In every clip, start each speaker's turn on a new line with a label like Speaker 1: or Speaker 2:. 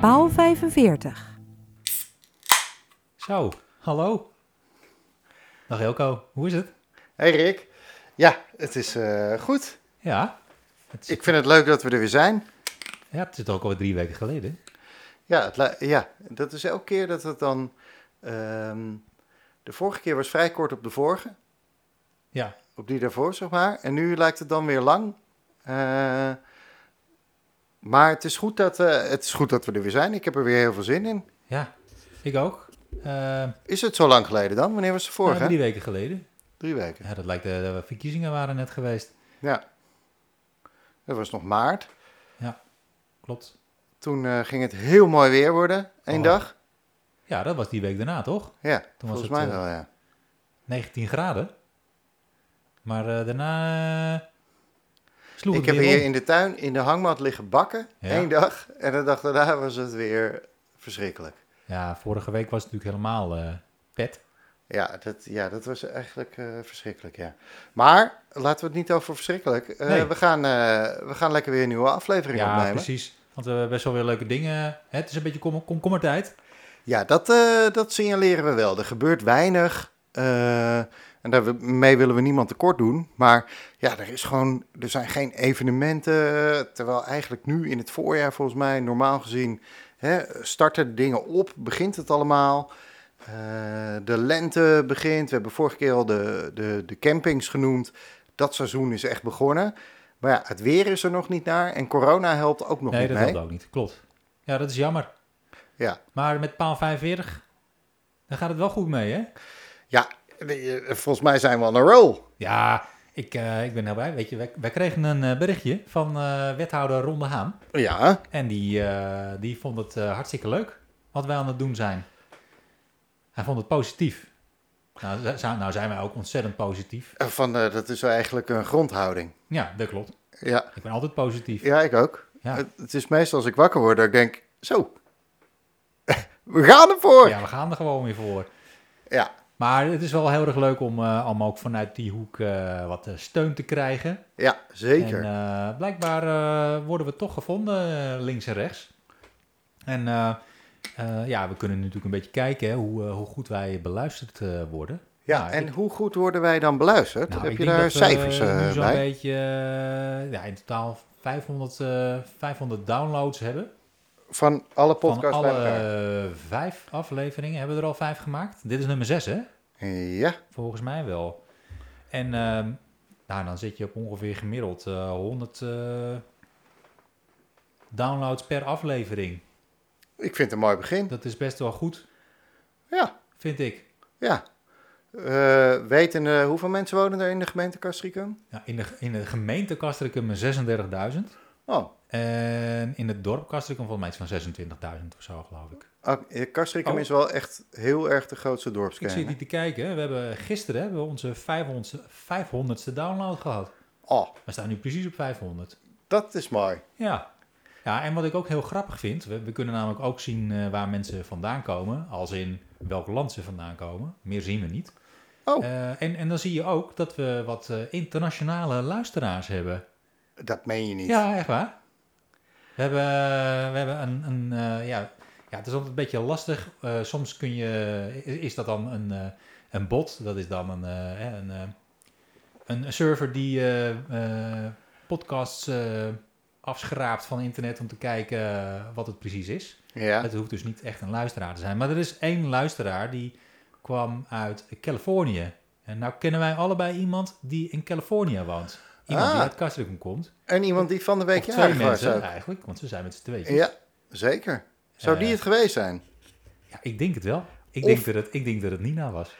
Speaker 1: Paal 45.
Speaker 2: Zo, hallo. Dag Jelko, hoe is het?
Speaker 3: Hey Rick. Ja, het is eh, goed.
Speaker 2: Ja, het is,
Speaker 3: Ik vind het leuk dat we er weer zijn.
Speaker 2: ja, het is ook alweer drie weken geleden.
Speaker 3: Ja, het li- ja dat is elke keer dat het dan... ehm, de vorige keer was vrij kort op de vorige,
Speaker 2: Ja,
Speaker 3: op die daarvoor zeg maar. En nu lijkt het dan weer lang. Eh, maar het is, goed dat, eh, het is goed dat we er weer zijn. Ik heb er weer heel veel zin in.
Speaker 2: ja, ik ook. Eh,
Speaker 3: Is het zo lang geleden dan? Wanneer was de vorige?
Speaker 2: ja,
Speaker 3: drie...
Speaker 2: drie weken geleden.
Speaker 3: weken.
Speaker 2: Ja, dat lijkt de, de verkiezingen waren net geweest.
Speaker 3: Ja. Dat was nog maart.
Speaker 2: Klopt.
Speaker 3: Toen eh, ging het heel mooi weer worden, één
Speaker 2: Oh.
Speaker 3: dag.
Speaker 2: Ja, dat was die week daarna, toch?
Speaker 3: Ja,
Speaker 2: was
Speaker 3: volgens
Speaker 2: het,
Speaker 3: mij
Speaker 2: eh,
Speaker 3: wel, ja.
Speaker 2: 19 graden. Maar eh, daarna eh, sloeg
Speaker 3: Ik
Speaker 2: het
Speaker 3: heb
Speaker 2: weer
Speaker 3: hier
Speaker 2: om.
Speaker 3: in de tuin in de hangmat liggen bakken,
Speaker 2: Ja.
Speaker 3: één dag. En de dag daarna was het weer verschrikkelijk.
Speaker 2: Ja, vorige week was het natuurlijk helemaal eh, pet.
Speaker 3: Ja, dat, ja, dat was eigenlijk eh, verschrikkelijk, ja. Maar laten we het niet over verschrikkelijk. Eh,
Speaker 2: Nee.
Speaker 3: we, gaan, eh, we gaan lekker weer een nieuwe aflevering
Speaker 2: Ja,
Speaker 3: opnemen.
Speaker 2: precies. Want we hebben best wel weer leuke dingen. Hè, het is een beetje kom- komkommertijd.
Speaker 3: Ja, dat, eh, dat signaleren we wel. Er gebeurt weinig. eh, en daarmee willen we niemand tekort doen. Maar ja, er, is gewoon, er zijn geen evenementen. Terwijl eigenlijk nu in het voorjaar, volgens mij, normaal gezien, hè, starten de dingen op. Begint het allemaal. Eh, de lente begint. We hebben vorige keer al de, de, de campings genoemd. Dat seizoen is echt begonnen. Maar ja, het weer is er nog niet naar. En corona helpt ook nog
Speaker 2: nee,
Speaker 3: niet
Speaker 2: dat
Speaker 3: mee.
Speaker 2: helpt ook niet. Klopt. Ja, dat is jammer.
Speaker 3: Ja.
Speaker 2: Maar met paal 45, dan gaat het wel goed mee, hè?
Speaker 3: ja, eh, volgens mij zijn we on a roll.
Speaker 2: Ja, ik, eh, ik ben heel blij. Weet je, wij, wij kregen een eh, berichtje van eh, wethouder Ron de Haan.
Speaker 3: Ja,
Speaker 2: En die, eh, die vond het eh, hartstikke leuk wat wij aan het doen zijn. Hij vond het positief. Nou, z- zijn- nou zijn wij ook ontzettend positief.
Speaker 3: Van, eh, dat is wel eigenlijk een grondhouding.
Speaker 2: Ja, dat klopt.
Speaker 3: Ja,
Speaker 2: Ik ben altijd positief.
Speaker 3: ja ik ook.
Speaker 2: Ja.
Speaker 3: Het, het is meestal als ik wakker word dat ik denk, zo, we gaan ervoor. Ja,
Speaker 2: Ja, we gaan er gewoon weer voor. Maar het is wel heel erg leuk om, eh, om ook vanuit die hoek eh, wat eh, steun te krijgen.
Speaker 3: ja, zeker.
Speaker 2: En eh, blijkbaar eh, worden we toch gevonden, eh, links en rechts. En eh, eh, ja, we kunnen natuurlijk een beetje kijken hè, hoe, eh, hoe goed wij beluisterd eh, worden.
Speaker 3: ja,
Speaker 2: nou,
Speaker 3: en
Speaker 2: ik-
Speaker 3: hoe goed worden wij dan beluisterd?
Speaker 2: Nou,
Speaker 3: Heb
Speaker 2: ik
Speaker 3: je
Speaker 2: denk
Speaker 3: daar
Speaker 2: dat we
Speaker 3: cijfers eh,
Speaker 2: nu zo'n
Speaker 3: bij?
Speaker 2: beetje, eh, ja, in totaal 500, eh, 500 downloads hebben.
Speaker 3: Van alle podcasts
Speaker 2: Van
Speaker 3: bij
Speaker 2: alle
Speaker 3: elkaar?
Speaker 2: eh, vijf afleveringen hebben we er al vijf gemaakt. Dit is nummer zes, hè?
Speaker 3: Ja,
Speaker 2: Volgens mij wel. En ehm, nou, dan zit je op ongeveer gemiddeld eh, 100 eh, downloads per aflevering.
Speaker 3: ik vind het een mooi begin.
Speaker 2: Dat is best wel goed,
Speaker 3: Ja,
Speaker 2: vind ik.
Speaker 3: ja. Eh weten eh, hoeveel mensen wonen er in de gemeente Castricum?
Speaker 2: Nou, in, de, in de gemeente Castricum een 36.000.
Speaker 3: Oh,
Speaker 2: En in het dorp Castricum volgens mij iets van 26.000 of zo, geloof ik.
Speaker 3: ah, eh, Castricum
Speaker 2: Oh.
Speaker 3: is wel echt heel erg de grootste
Speaker 2: Ik zit
Speaker 3: dorpskern. hè?
Speaker 2: hier te kijken. We hebben, gisteren hebben we onze 500ste, 500ste download gehad.
Speaker 3: Oh,
Speaker 2: We staan nu precies op 500.
Speaker 3: dat is mooi.
Speaker 2: Ja. ja, en wat ik ook heel grappig vind, we, we kunnen namelijk ook zien eh, waar mensen vandaan komen, als in welk land ze vandaan komen. Meer zien we niet.
Speaker 3: Oh.
Speaker 2: Eh, en, en dan zie je ook dat we wat eh, internationale luisteraars hebben.
Speaker 3: Dat meen je niet.
Speaker 2: Ja, echt waar. We hebben, we hebben een, een eh, ja, ja, het is altijd een beetje lastig. Eh, soms kun je, is, is dat dan een, eh, een bot? Dat is dan een, eh, hè, een, eh, een, een server die eh, eh, podcasts eh, afschraapt van internet om te kijken eh, wat het precies is.
Speaker 3: ja.
Speaker 2: Het hoeft dus niet echt een luisteraar te zijn. Maar er is één luisteraar die kwam uit Californië. En nou kennen wij allebei iemand die in Californië woont. Iemand die
Speaker 3: Ah.
Speaker 2: uit Castricum komt.
Speaker 3: En iemand die van de week
Speaker 2: Of twee
Speaker 3: jarig was
Speaker 2: mensen
Speaker 3: ook.
Speaker 2: eigenlijk, want ze zijn met z'n tweeën. Ja.
Speaker 3: Ja, zeker. Zou
Speaker 2: Eh.
Speaker 3: die het geweest zijn?
Speaker 2: ik denk het wel. Ik,
Speaker 3: Of-
Speaker 2: denk dat het, ik denk dat het Nina was.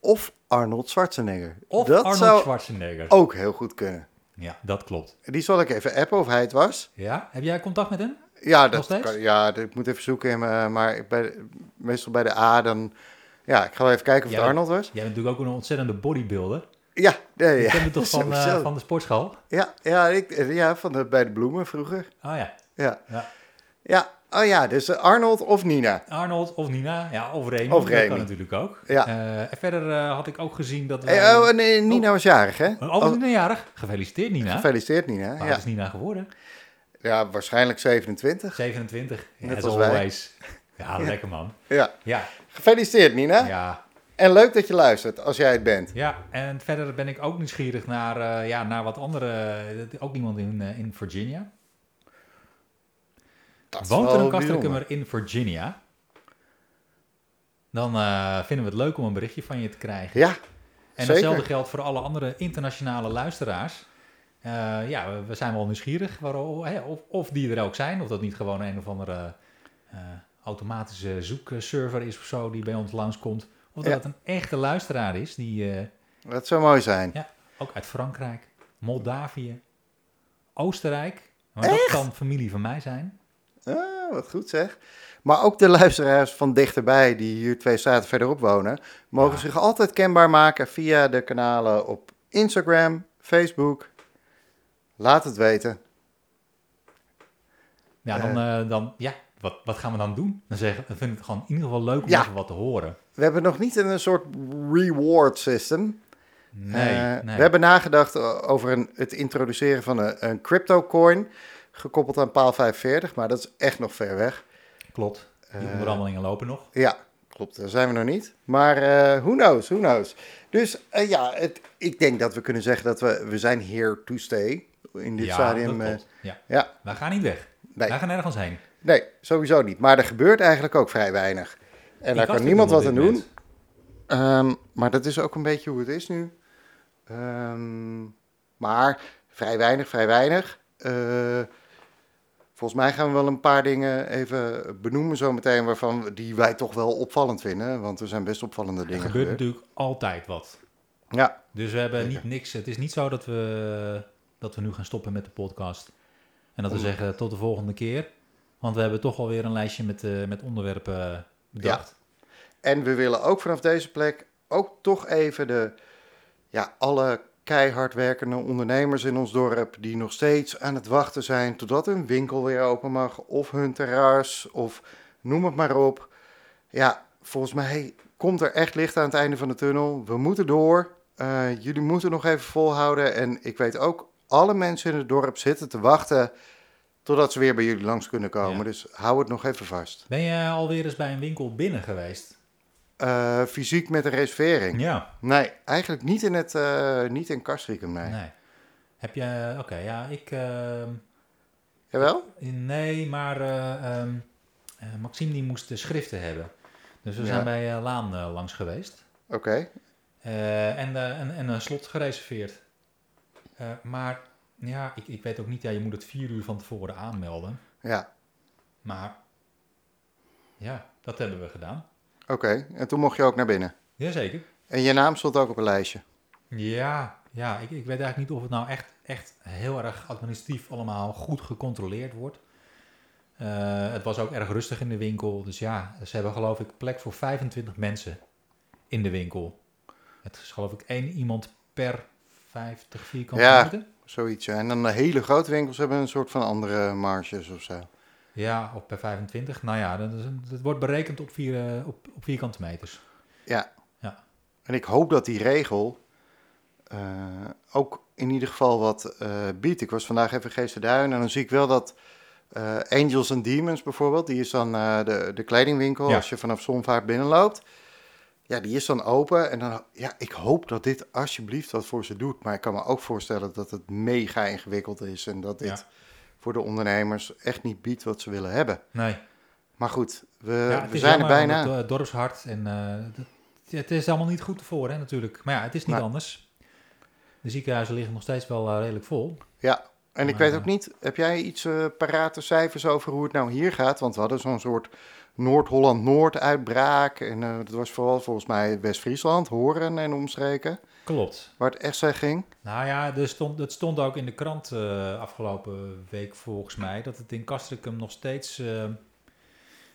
Speaker 3: Of Arnold Schwarzenegger.
Speaker 2: Of
Speaker 3: dat
Speaker 2: Arnold
Speaker 3: zou Oh.
Speaker 2: Schwarzenegger.
Speaker 3: ook heel goed kunnen.
Speaker 2: Ja, dat klopt.
Speaker 3: Die zal ik even appen of hij het was.
Speaker 2: Ja, heb jij contact met hem?
Speaker 3: Ja,
Speaker 2: Nog
Speaker 3: dat
Speaker 2: steeds?
Speaker 3: kan, ja dat- ik moet even zoeken. in mijn- maar bij, meestal bij de A dan... Ja, ik ga wel even kijken of
Speaker 2: Ja,
Speaker 3: het Arnold was.
Speaker 2: Jij bent natuurlijk ook een ontzettende bodybuilder.
Speaker 3: Ja, nee,
Speaker 2: Je
Speaker 3: ja.
Speaker 2: kent het toch van, eh,
Speaker 3: sowieso.
Speaker 2: van de sportschool?
Speaker 3: Ja, ja, ik, ja van de, bij de bloemen vroeger.
Speaker 2: Ah ja,
Speaker 3: Ja.
Speaker 2: Ja.
Speaker 3: ja. Oh ja, dus eh, Arnold of Nina.
Speaker 2: Arnold of Nina. Ja, of Remy.
Speaker 3: Of
Speaker 2: Dat kan
Speaker 3: Remy.
Speaker 2: natuurlijk ook.
Speaker 3: Ja.
Speaker 2: Eh, en verder eh, had ik ook gezien dat wij...
Speaker 3: Hey, oh, nee, Nina was jarig, hè?
Speaker 2: Oh, we zijn jarig. Gefeliciteerd Nina.
Speaker 3: Gefeliciteerd, Nina.
Speaker 2: Waar
Speaker 3: Ja.
Speaker 2: is Nina geworden?
Speaker 3: Ja, waarschijnlijk 27.
Speaker 2: 27,
Speaker 3: Net
Speaker 2: as
Speaker 3: als wij.
Speaker 2: always. Ja, lekker man.
Speaker 3: Ja.
Speaker 2: Ja,
Speaker 3: Gefeliciteerd, Nina.
Speaker 2: ja,
Speaker 3: En leuk dat je luistert als jij het bent.
Speaker 2: ja. En verder ben ik ook nieuwsgierig naar, eh, ja, naar wat andere... dat- Ook iemand in, eh, in Virginia.
Speaker 3: Dat is
Speaker 2: Woont
Speaker 3: wel
Speaker 2: er een
Speaker 3: bijzonder.
Speaker 2: kastricummer in Virginia? Dan eh, vinden we het leuk om een berichtje van je te krijgen.
Speaker 3: Ja,
Speaker 2: En
Speaker 3: Zeker.
Speaker 2: hetzelfde geldt voor alle andere internationale luisteraars. Eh, ja, we, we zijn wel nieuwsgierig waar, hè, of, of die er ook zijn. Of dat niet gewoon een of andere eh, automatische zoekserver is of zo die bij ons langskomt. Of dat
Speaker 3: Ja.
Speaker 2: het een echte luisteraar is die eh,
Speaker 3: dat zou mooi zijn.
Speaker 2: ook uit Frankrijk, Moldavië, Oostenrijk. Maar dat kan familie van mij zijn.
Speaker 3: Ah, wat goed zeg. Maar ook de luisteraars van dichterbij, die hier twee staten verderop wonen, mogen
Speaker 2: Ja.
Speaker 3: zich altijd kenbaar maken via de kanalen op Instagram, Facebook. Laat het weten.
Speaker 2: Ja, dan, eh, dan, ja wat, wat gaan we dan doen? Dan zeggen we, vind het gewoon in ieder geval leuk om
Speaker 3: Ja.
Speaker 2: even wat te horen.
Speaker 3: We hebben nog niet een soort reward system.
Speaker 2: Nee,
Speaker 3: Eh,
Speaker 2: nee.
Speaker 3: We hebben nagedacht eh, over een, het introduceren van een, een crypto coin gekoppeld aan paal 45, maar dat is echt nog ver weg.
Speaker 2: Klopt, die
Speaker 3: Eh,
Speaker 2: onderhandelingen lopen nog.
Speaker 3: Ja, klopt, daar zijn we nog niet. Maar eh who knows, who knows. Dus eh, ja, het, ik denk dat we kunnen zeggen dat we, we zijn here to stay in dit
Speaker 2: dat
Speaker 3: stadium. eh,
Speaker 2: klopt. ja.
Speaker 3: ja,
Speaker 2: Wij gaan niet weg.
Speaker 3: Nee.
Speaker 2: Wij gaan nergens heen.
Speaker 3: nee, sowieso niet. Maar er gebeurt eigenlijk ook vrij weinig. En daar kan niemand wat aan doen. Ehm, maar dat is ook een beetje hoe het is nu. Ehm, maar vrij weinig, vrij weinig. Eh, volgens mij gaan we wel een paar dingen even benoemen zometeen... waarvan we- die wij toch wel opvallend vinden. Want er zijn best opvallende
Speaker 2: Er
Speaker 3: dingen
Speaker 2: gebeurt
Speaker 3: gebeurd.
Speaker 2: natuurlijk altijd wat.
Speaker 3: Ja,
Speaker 2: Dus we hebben
Speaker 3: Zeker.
Speaker 2: niet niks. Het is niet zo dat we, dat we nu gaan stoppen met de podcast. En dat we
Speaker 3: Om-
Speaker 2: zeggen tot de volgende keer. Want we hebben toch alweer een lijstje met, eh, met onderwerpen bedacht.
Speaker 3: en we willen ook vanaf deze plek ook toch even de... Ja, alle keihard werkende ondernemers in ons dorp... die nog steeds aan het wachten zijn totdat hun winkel weer open mag... of hun terras, of noem het maar op... Ja, volgens mij komt er echt licht aan het einde van de tunnel. We moeten door. Eh, jullie moeten nog even volhouden. En ik weet ook, alle mensen in het dorp zitten te wachten totdat ze weer bij jullie langs kunnen komen.
Speaker 2: Ja.
Speaker 3: Dus hou het nog even vast.
Speaker 2: Ben je alweer eens bij een winkel binnen geweest?
Speaker 3: Eh, fysiek met een reservering?
Speaker 2: Ja.
Speaker 3: Nee, eigenlijk niet in, het, eh, niet in Kastrikum, nee.
Speaker 2: Nee. Heb je... eh, Oké, ja, ik... ehm,
Speaker 3: Jawel?
Speaker 2: Nee, maar eh, ehm, eh, Maxime die moest de schriften hebben. Dus we
Speaker 3: Ja.
Speaker 2: zijn bij eh, Laan eh, langs geweest.
Speaker 3: Oké.
Speaker 2: Eh, en, eh, en, en een slot gereserveerd. Eh, maar ja, ik, ik weet ook niet, ja, je moet het vier uur van tevoren aanmelden.
Speaker 3: Ja,
Speaker 2: Maar ja, dat hebben we gedaan.
Speaker 3: oké. En toen mocht je ook naar binnen.
Speaker 2: Jazeker.
Speaker 3: En je naam stond ook op een lijstje.
Speaker 2: Ja, ja ik, ik weet eigenlijk niet of het nou echt, echt heel erg administratief allemaal goed gecontroleerd wordt. Eh, het was ook erg rustig in de winkel. Dus ja, ze hebben geloof ik plek voor 25 mensen in de winkel. Het is geloof ik één iemand per 50 vierkante
Speaker 3: Ja.
Speaker 2: meter.
Speaker 3: Zoiets. ja. En dan de hele grote winkels hebben een soort van andere marges of zo.
Speaker 2: Ja, of per 25. Nou ja, dat, is een- dat wordt berekend op, vier, eh, op, op vierkante meters.
Speaker 3: Ja.
Speaker 2: Ja.
Speaker 3: En ik hoop dat die regel eh, ook in ieder geval wat eh, biedt. Ik was vandaag even Geesterduin en dan zie ik wel dat eh, Angels and Demons bijvoorbeeld, die is dan eh, de, de kledingwinkel
Speaker 2: Ja.
Speaker 3: als je vanaf Zonvaart binnenloopt. Ja, die is dan open en dan, ja, ik hoop dat dit alsjeblieft wat voor ze doet. Maar ik kan me ook voorstellen dat het mega ingewikkeld is en dat dit
Speaker 2: Ja.
Speaker 3: voor de ondernemers echt niet biedt wat ze willen hebben.
Speaker 2: Nee.
Speaker 3: Maar goed, we,
Speaker 2: ja, het
Speaker 3: Eh, we
Speaker 2: is
Speaker 3: zijn er
Speaker 2: jammer,
Speaker 3: bijna.
Speaker 2: want Het eh, dorpshart en eh, het, het is allemaal niet goed voor, hè, natuurlijk. Maar ja, het is niet
Speaker 3: Nee.
Speaker 2: anders. De ziekenhuizen liggen nog steeds wel eh, redelijk vol.
Speaker 3: Oh, Ja, en ik
Speaker 2: Maar,
Speaker 3: weet
Speaker 2: eh,
Speaker 3: ook niet, heb jij iets eh, parate cijfers over hoe het nou hier gaat? Want we hadden zo'n soort Noord-Holland-Noord-uitbraak. En eh, dat was vooral volgens mij West-Friesland, Horen en omstreken,
Speaker 2: Klopt.
Speaker 3: waar het echt zeg ging.
Speaker 2: Nou ja, er stond, dat stond ook in de krant eh, afgelopen week volgens mij... dat het in Castricum nog steeds eh,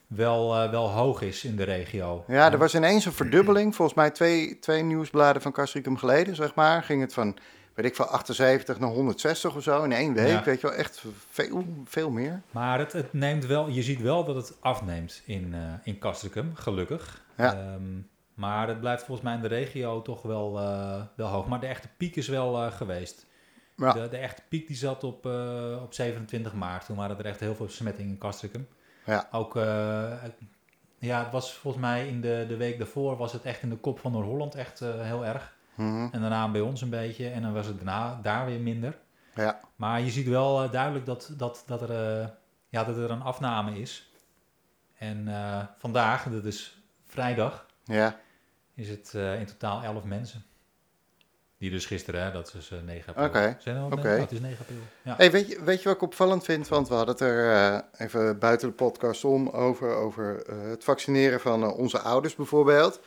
Speaker 2: wel, eh, wel hoog is in de regio.
Speaker 3: Ja, er was ineens een verdubbeling. Volgens mij twee, twee nieuwsbladen van Castricum geleden, zeg maar. Ging het van, weet ik van 78 naar 160 of zo in één week.
Speaker 2: Ja.
Speaker 3: Weet je wel, echt veel, veel meer.
Speaker 2: Maar het, het neemt wel, je ziet wel dat het afneemt in, eh in Castricum, gelukkig.
Speaker 3: Ja.
Speaker 2: Ehm, maar het blijft volgens mij in de regio toch wel, eh, wel hoog. Maar de echte piek is wel eh, geweest.
Speaker 3: Ja.
Speaker 2: De, de echte piek die zat op, eh, op 27 maart. Toen waren er echt heel veel besmettingen in Kastrikum.
Speaker 3: Ja.
Speaker 2: Ook, eh, ja, het was volgens mij in de, de week daarvoor was het echt in de kop van Noord-Holland echt eh, heel erg.
Speaker 3: Mhm.
Speaker 2: En daarna bij ons een beetje. En dan was het daarna daar weer minder.
Speaker 3: Ja.
Speaker 2: Maar je ziet wel eh, duidelijk dat, dat, dat, er, eh, ja, dat er een afname is. En eh, vandaag, dat is vrijdag,
Speaker 3: ja.
Speaker 2: is het eh, in totaal 11 mensen. Die dus gisteren, hè, dat is eh 9 april.
Speaker 3: Oké,
Speaker 2: Zijn er al
Speaker 3: oké.
Speaker 2: mensen? Ja, het is 9 april. Ja.
Speaker 3: Hey, weet, je, weet je wat ik opvallend vind? Want we hadden het er eh, even buiten de podcast om over, over eh, het vaccineren van eh, onze ouders bijvoorbeeld.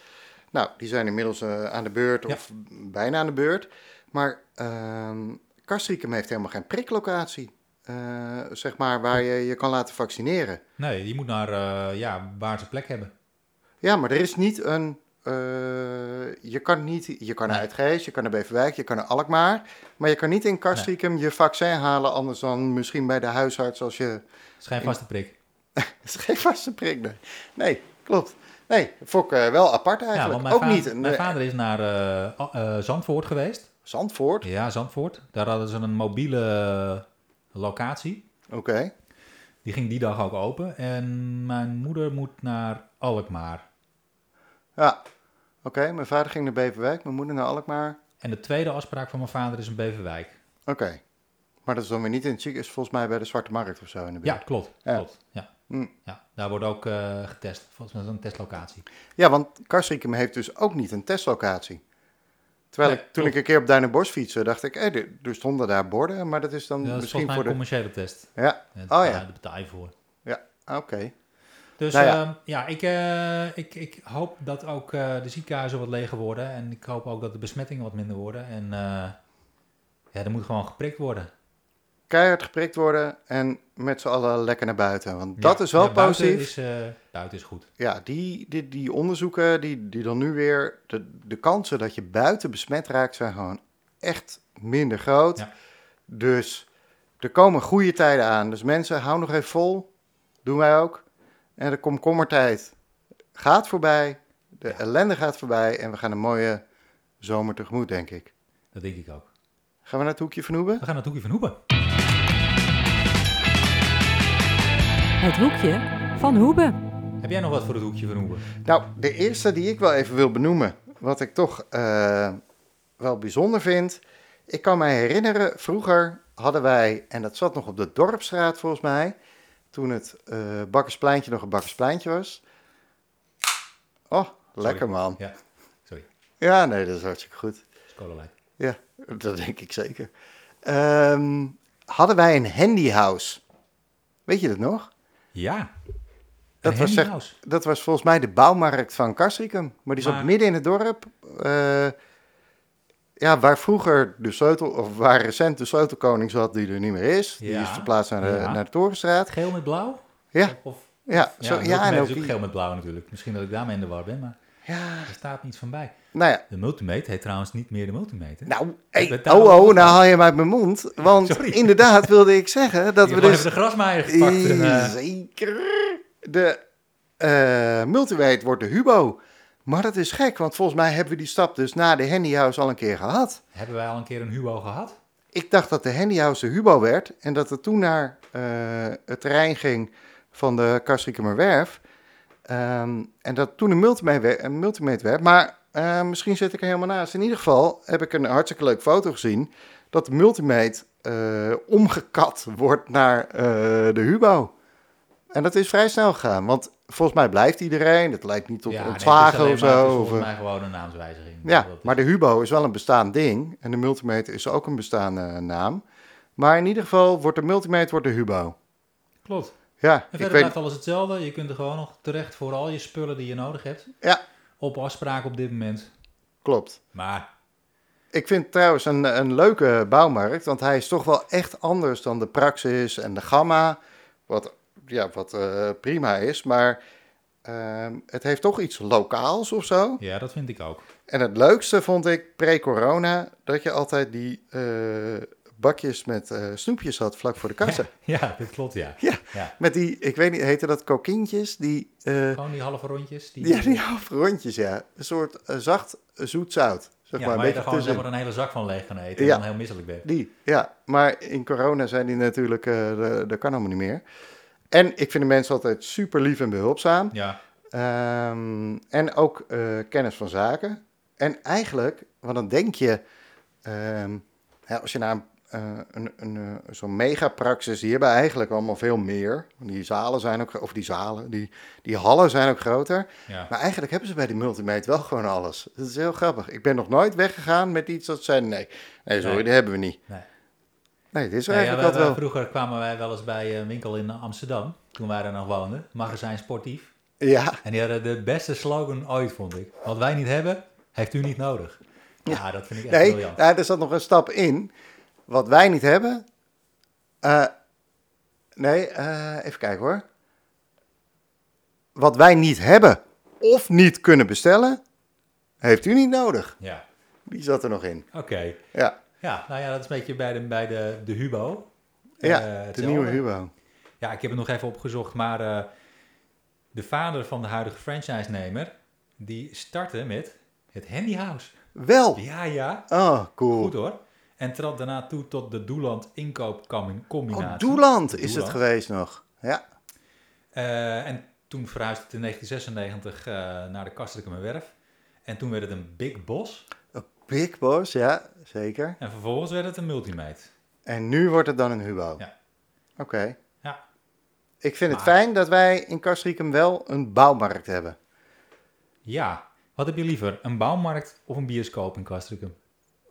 Speaker 3: Nou, die zijn inmiddels eh, aan de beurt
Speaker 2: Ja.
Speaker 3: of bijna aan de beurt. Maar ehm Castricum heeft helemaal geen priklocatie, eh, zeg maar, waar je je kan laten vaccineren.
Speaker 2: Nee, die moet naar eh, ja, waar ze plek hebben.
Speaker 3: Ja, maar er is niet een... eh, je kan niet, je kan naar
Speaker 2: Nee.
Speaker 3: Uitgeest, je kan naar Beverwijk, je kan naar Alkmaar. Maar je kan niet in Castricum je vaccin halen, anders dan misschien bij de huisarts als je...
Speaker 2: Het is geen vaste prik.
Speaker 3: Het is geen vaste prik, nee. Nee, klopt. Nee, Fok eh, wel apart
Speaker 2: Ja,
Speaker 3: eigenlijk.
Speaker 2: want mijn,
Speaker 3: Ook
Speaker 2: vader,
Speaker 3: niet een
Speaker 2: mijn
Speaker 3: eh,
Speaker 2: vader is naar eh, A- eh, Zandvoort geweest.
Speaker 3: Zandvoort.
Speaker 2: Ja, Zandvoort. Daar hadden ze een mobiele eh, locatie.
Speaker 3: Oké.
Speaker 2: Die ging die dag ook open. En mijn moeder moet naar Alkmaar.
Speaker 3: Ja. Oké, mijn vader ging naar Beverwijk, mijn moeder naar Alkmaar.
Speaker 2: En de tweede afspraak van mijn vader is in Beverwijk.
Speaker 3: Oké. Maar dat is dan weer niet in het ziekenhuis, volgens mij bij de Zwarte Markt of zo in de
Speaker 2: Ja,
Speaker 3: buurt.
Speaker 2: klopt.
Speaker 3: Ja.
Speaker 2: klopt ja.
Speaker 3: Hm.
Speaker 2: Ja, daar wordt ook eh, getest. Volgens mij is dat een testlocatie.
Speaker 3: Ja, want Kastrikum heeft dus ook niet een testlocatie. Terwijl
Speaker 2: Nee,
Speaker 3: ik, toen ik een keer op Duinenbos fietste, dacht ik, hé, er, er stonden daar borden, maar dat is dan
Speaker 2: Ja, dat is volgens
Speaker 3: misschien
Speaker 2: mij
Speaker 3: voor
Speaker 2: een
Speaker 3: de...
Speaker 2: commerciële test.
Speaker 3: Ja,
Speaker 2: En
Speaker 3: Oh, ja.
Speaker 2: daar betaal je voor.
Speaker 3: oké.
Speaker 2: Dus
Speaker 3: Nou
Speaker 2: nou
Speaker 3: ja.
Speaker 2: ja, ja ik, eh, ik, ik hoop dat ook eh, de ziekenhuizen wat leger worden. En ik hoop ook dat de besmettingen wat minder worden. En eh, ja, er moet gewoon geprikt worden.
Speaker 3: Keihard geprikt worden en met z'n allen lekker naar buiten. Want
Speaker 2: Ja,
Speaker 3: dat is wel
Speaker 2: ja, buiten
Speaker 3: positief.
Speaker 2: Is, eh, buiten is goed.
Speaker 3: Ja, die, die, die onderzoeken, die, die dan nu weer, de, de kansen dat je buiten besmet raakt, zijn gewoon echt minder groot.
Speaker 2: Ja.
Speaker 3: Dus er komen goede tijden aan. Dus mensen, hou nog even vol. Doen wij ook. En de komkommertijd gaat voorbij. De
Speaker 2: Ja.
Speaker 3: ellende gaat voorbij. En we gaan een mooie zomer tegemoet, denk ik.
Speaker 2: Dat denk ik ook.
Speaker 3: Gaan we naar het hoekje van Hoeben?
Speaker 2: We gaan naar het hoekje van Hoeben.
Speaker 1: Het hoekje van Hoeben.
Speaker 2: Heb jij nog wat voor het hoekje van Hoeben?
Speaker 3: Nou, de eerste die ik wel even wil benoemen, wat ik toch eh, wel bijzonder vind. Ik kan mij herinneren, vroeger hadden wij, en dat zat nog op de Dorpstraat volgens mij, toen het eh, Bakkerspleintje nog een Bakkerspleintje was. Oh, lekker man.
Speaker 2: Ja, sorry.
Speaker 3: Ja, nee, dat is hartstikke goed.
Speaker 2: Scola
Speaker 3: Ja, dat denk ik zeker. Ehm, hadden wij een handyhouse. Weet je dat nog?
Speaker 2: Ja.
Speaker 3: Dat
Speaker 2: Een
Speaker 3: was zeg-
Speaker 2: handyhouse.
Speaker 3: Dat was volgens mij de bouwmarkt van Kastrikum. Maar die zat
Speaker 2: Maar-
Speaker 3: midden in het dorp. eh, ja, waar vroeger de sleutel, of waar recent de sleutelkoning zat, die er niet meer is. Die
Speaker 2: Ja,
Speaker 3: is verplaatst naar de,
Speaker 2: ja.
Speaker 3: naar de Torenstraat.
Speaker 2: Geel met blauw?
Speaker 3: Ja,
Speaker 2: Of,
Speaker 3: ja,
Speaker 2: ja,
Speaker 3: zo, ja, en
Speaker 2: en
Speaker 3: ook
Speaker 2: is ook
Speaker 3: die-
Speaker 2: geel met blauw natuurlijk. Misschien dat ik daarmee in de war ben, maar
Speaker 3: ja,
Speaker 2: er staat niets van bij.
Speaker 3: nou ja.
Speaker 2: De multimeter heet trouwens niet meer de multimeter.
Speaker 3: Nou, hey,
Speaker 2: werd daar
Speaker 3: oh,
Speaker 2: wel
Speaker 3: oh,
Speaker 2: over.
Speaker 3: nou haal je hem uit mijn mond. Want
Speaker 2: Sorry.
Speaker 3: inderdaad wilde ik zeggen dat
Speaker 2: Je hebt
Speaker 3: we
Speaker 2: gewoon
Speaker 3: dus...
Speaker 2: even de grasmaaier gepakt. en, eh,
Speaker 3: Zeker. De eh multiweight wordt de Hubo. Maar dat is gek, want volgens mij hebben we die stap dus na de handyhouse al een keer gehad.
Speaker 2: hebben wij al een keer een hubo gehad?
Speaker 3: Ik dacht dat de Handyhouse de Hubo werd en dat het toen naar eh, het terrein ging van de Kastrikumerwerf. Ehm en dat toen een multimate we- een multimate werd. Maar eh, misschien zit ik er helemaal naast. In ieder geval heb ik een hartstikke leuke foto gezien dat de multimate eh, omgekat wordt naar eh, de Hubo. En dat is vrij snel gegaan, want volgens mij blijft iedereen. Het lijkt niet tot
Speaker 2: nee, het is
Speaker 3: ontslagen
Speaker 2: alleen
Speaker 3: of
Speaker 2: maar- het is
Speaker 3: zo. of,
Speaker 2: volgens
Speaker 3: eh,
Speaker 2: mij gewoon een naamswijziging.
Speaker 3: ja,
Speaker 2: Dat is-
Speaker 3: maar de Hubo is wel een bestaand ding. En de Multimeter is ook een bestaande eh, naam. Maar in ieder geval wordt de Multimeter wordt de Hubo.
Speaker 2: Klopt.
Speaker 3: Ja,
Speaker 2: En
Speaker 3: ik
Speaker 2: verder
Speaker 3: weet...
Speaker 2: blijft alles hetzelfde. Je kunt er gewoon nog terecht voor al je spullen die je nodig hebt.
Speaker 3: Ja.
Speaker 2: Op afspraak op dit moment.
Speaker 3: Klopt.
Speaker 2: Maar
Speaker 3: Ik vind trouwens een, een leuke bouwmarkt. Want hij is toch wel echt anders dan de Praxis en de Gamma. Wat, ja, wat eh, prima is. Maar ehm, het heeft toch iets lokaals of zo.
Speaker 2: ja, dat vind ik ook.
Speaker 3: En het leukste vond ik pre-corona. Dat je altijd die eh, bakjes met eh, snoepjes had vlak voor de kassa.
Speaker 2: Ja, dat klopt, ja.
Speaker 3: Ja. Met die, ik weet niet, heette dat kokientjes? Die, eh
Speaker 2: Oh, Gewoon die halve rondjes. Die...
Speaker 3: die, die halve rondjes, ja. Een soort eh, zacht eh, zoet zout. Zeg
Speaker 2: ja,
Speaker 3: maar
Speaker 2: maar
Speaker 3: een
Speaker 2: je er
Speaker 3: beetje
Speaker 2: gewoon zeg
Speaker 3: tussen.
Speaker 2: maar, een hele zak van leeg kan eten
Speaker 3: Ja.
Speaker 2: en dan heel misselijk bent.
Speaker 3: Die, ja. Maar in corona zijn die natuurlijk, eh, de- dat kan allemaal niet meer. En ik vind de mensen altijd super lief en behulpzaam.
Speaker 2: Ja,
Speaker 3: Ehm, en ook eh, kennis van zaken. En eigenlijk, want dan denk je, ehm, hè, als je naar een, eh, een, een, eh, zo'n megapraxis, die hebben eigenlijk allemaal veel meer. Want Die zalen zijn ook, gro- of die zalen, die, die hallen zijn ook groter.
Speaker 2: ja.
Speaker 3: Maar eigenlijk hebben ze bij die multimate wel gewoon alles. Dat is heel grappig. Ik ben nog nooit weggegaan met iets dat zei, nee, nee sorry,
Speaker 2: Nee.
Speaker 3: die hebben we niet.
Speaker 2: Nee.
Speaker 3: Nee, dit is
Speaker 2: Nee, ja, wij-
Speaker 3: eigenlijk dat
Speaker 2: wij-
Speaker 3: wel.
Speaker 2: vroeger kwamen wij wel eens bij een winkel in Amsterdam, toen wij daar nog woonden, magazijn sportief.
Speaker 3: Ja,
Speaker 2: En die hadden de beste slogan ooit, vond ik. Wat wij niet hebben, heeft u niet nodig. Ja, dat vind ik echt
Speaker 3: nee,
Speaker 2: briljant.
Speaker 3: ja, er zat nog een stap in. Wat wij niet hebben. eh, nee, eh, even kijken hoor. Wat wij niet hebben of niet kunnen bestellen, heeft u niet nodig.
Speaker 2: Ja,
Speaker 3: Die zat er nog in.
Speaker 2: oké.
Speaker 3: Ja,
Speaker 2: Ja, nou ja, dat is een beetje bij de, bij de, de Hubo. Eh,
Speaker 3: ja de
Speaker 2: hetzelfde.
Speaker 3: nieuwe Hubo.
Speaker 2: Ja, ik heb het nog even opgezocht, maar eh, de vader van de huidige franchise-nemer, die startte met het Handy House.
Speaker 3: Wel.
Speaker 2: Ja, ja,
Speaker 3: Oh, cool.
Speaker 2: goed hoor. En trad daarna toe tot de Doeland inkoopcombinatie.
Speaker 3: oh, Doeland is het
Speaker 2: Doeland.
Speaker 3: geweest nog. Ja,
Speaker 2: Eh, en toen verhuisde het in 1996 eh, naar de Kastelijke Werf. En toen werd het een Big Boss.
Speaker 3: Oh, Big Boss, ja, zeker.
Speaker 2: En vervolgens werd het een Multimate.
Speaker 3: En nu wordt het dan een Hubo.
Speaker 2: Ja.
Speaker 3: Oké.
Speaker 2: Ja.
Speaker 3: Ik vind het
Speaker 2: Maar-
Speaker 3: fijn dat wij in Kastricum wel een bouwmarkt hebben.
Speaker 2: Ja, wat heb je liever? Een bouwmarkt of een bioscoop in Kastrikum?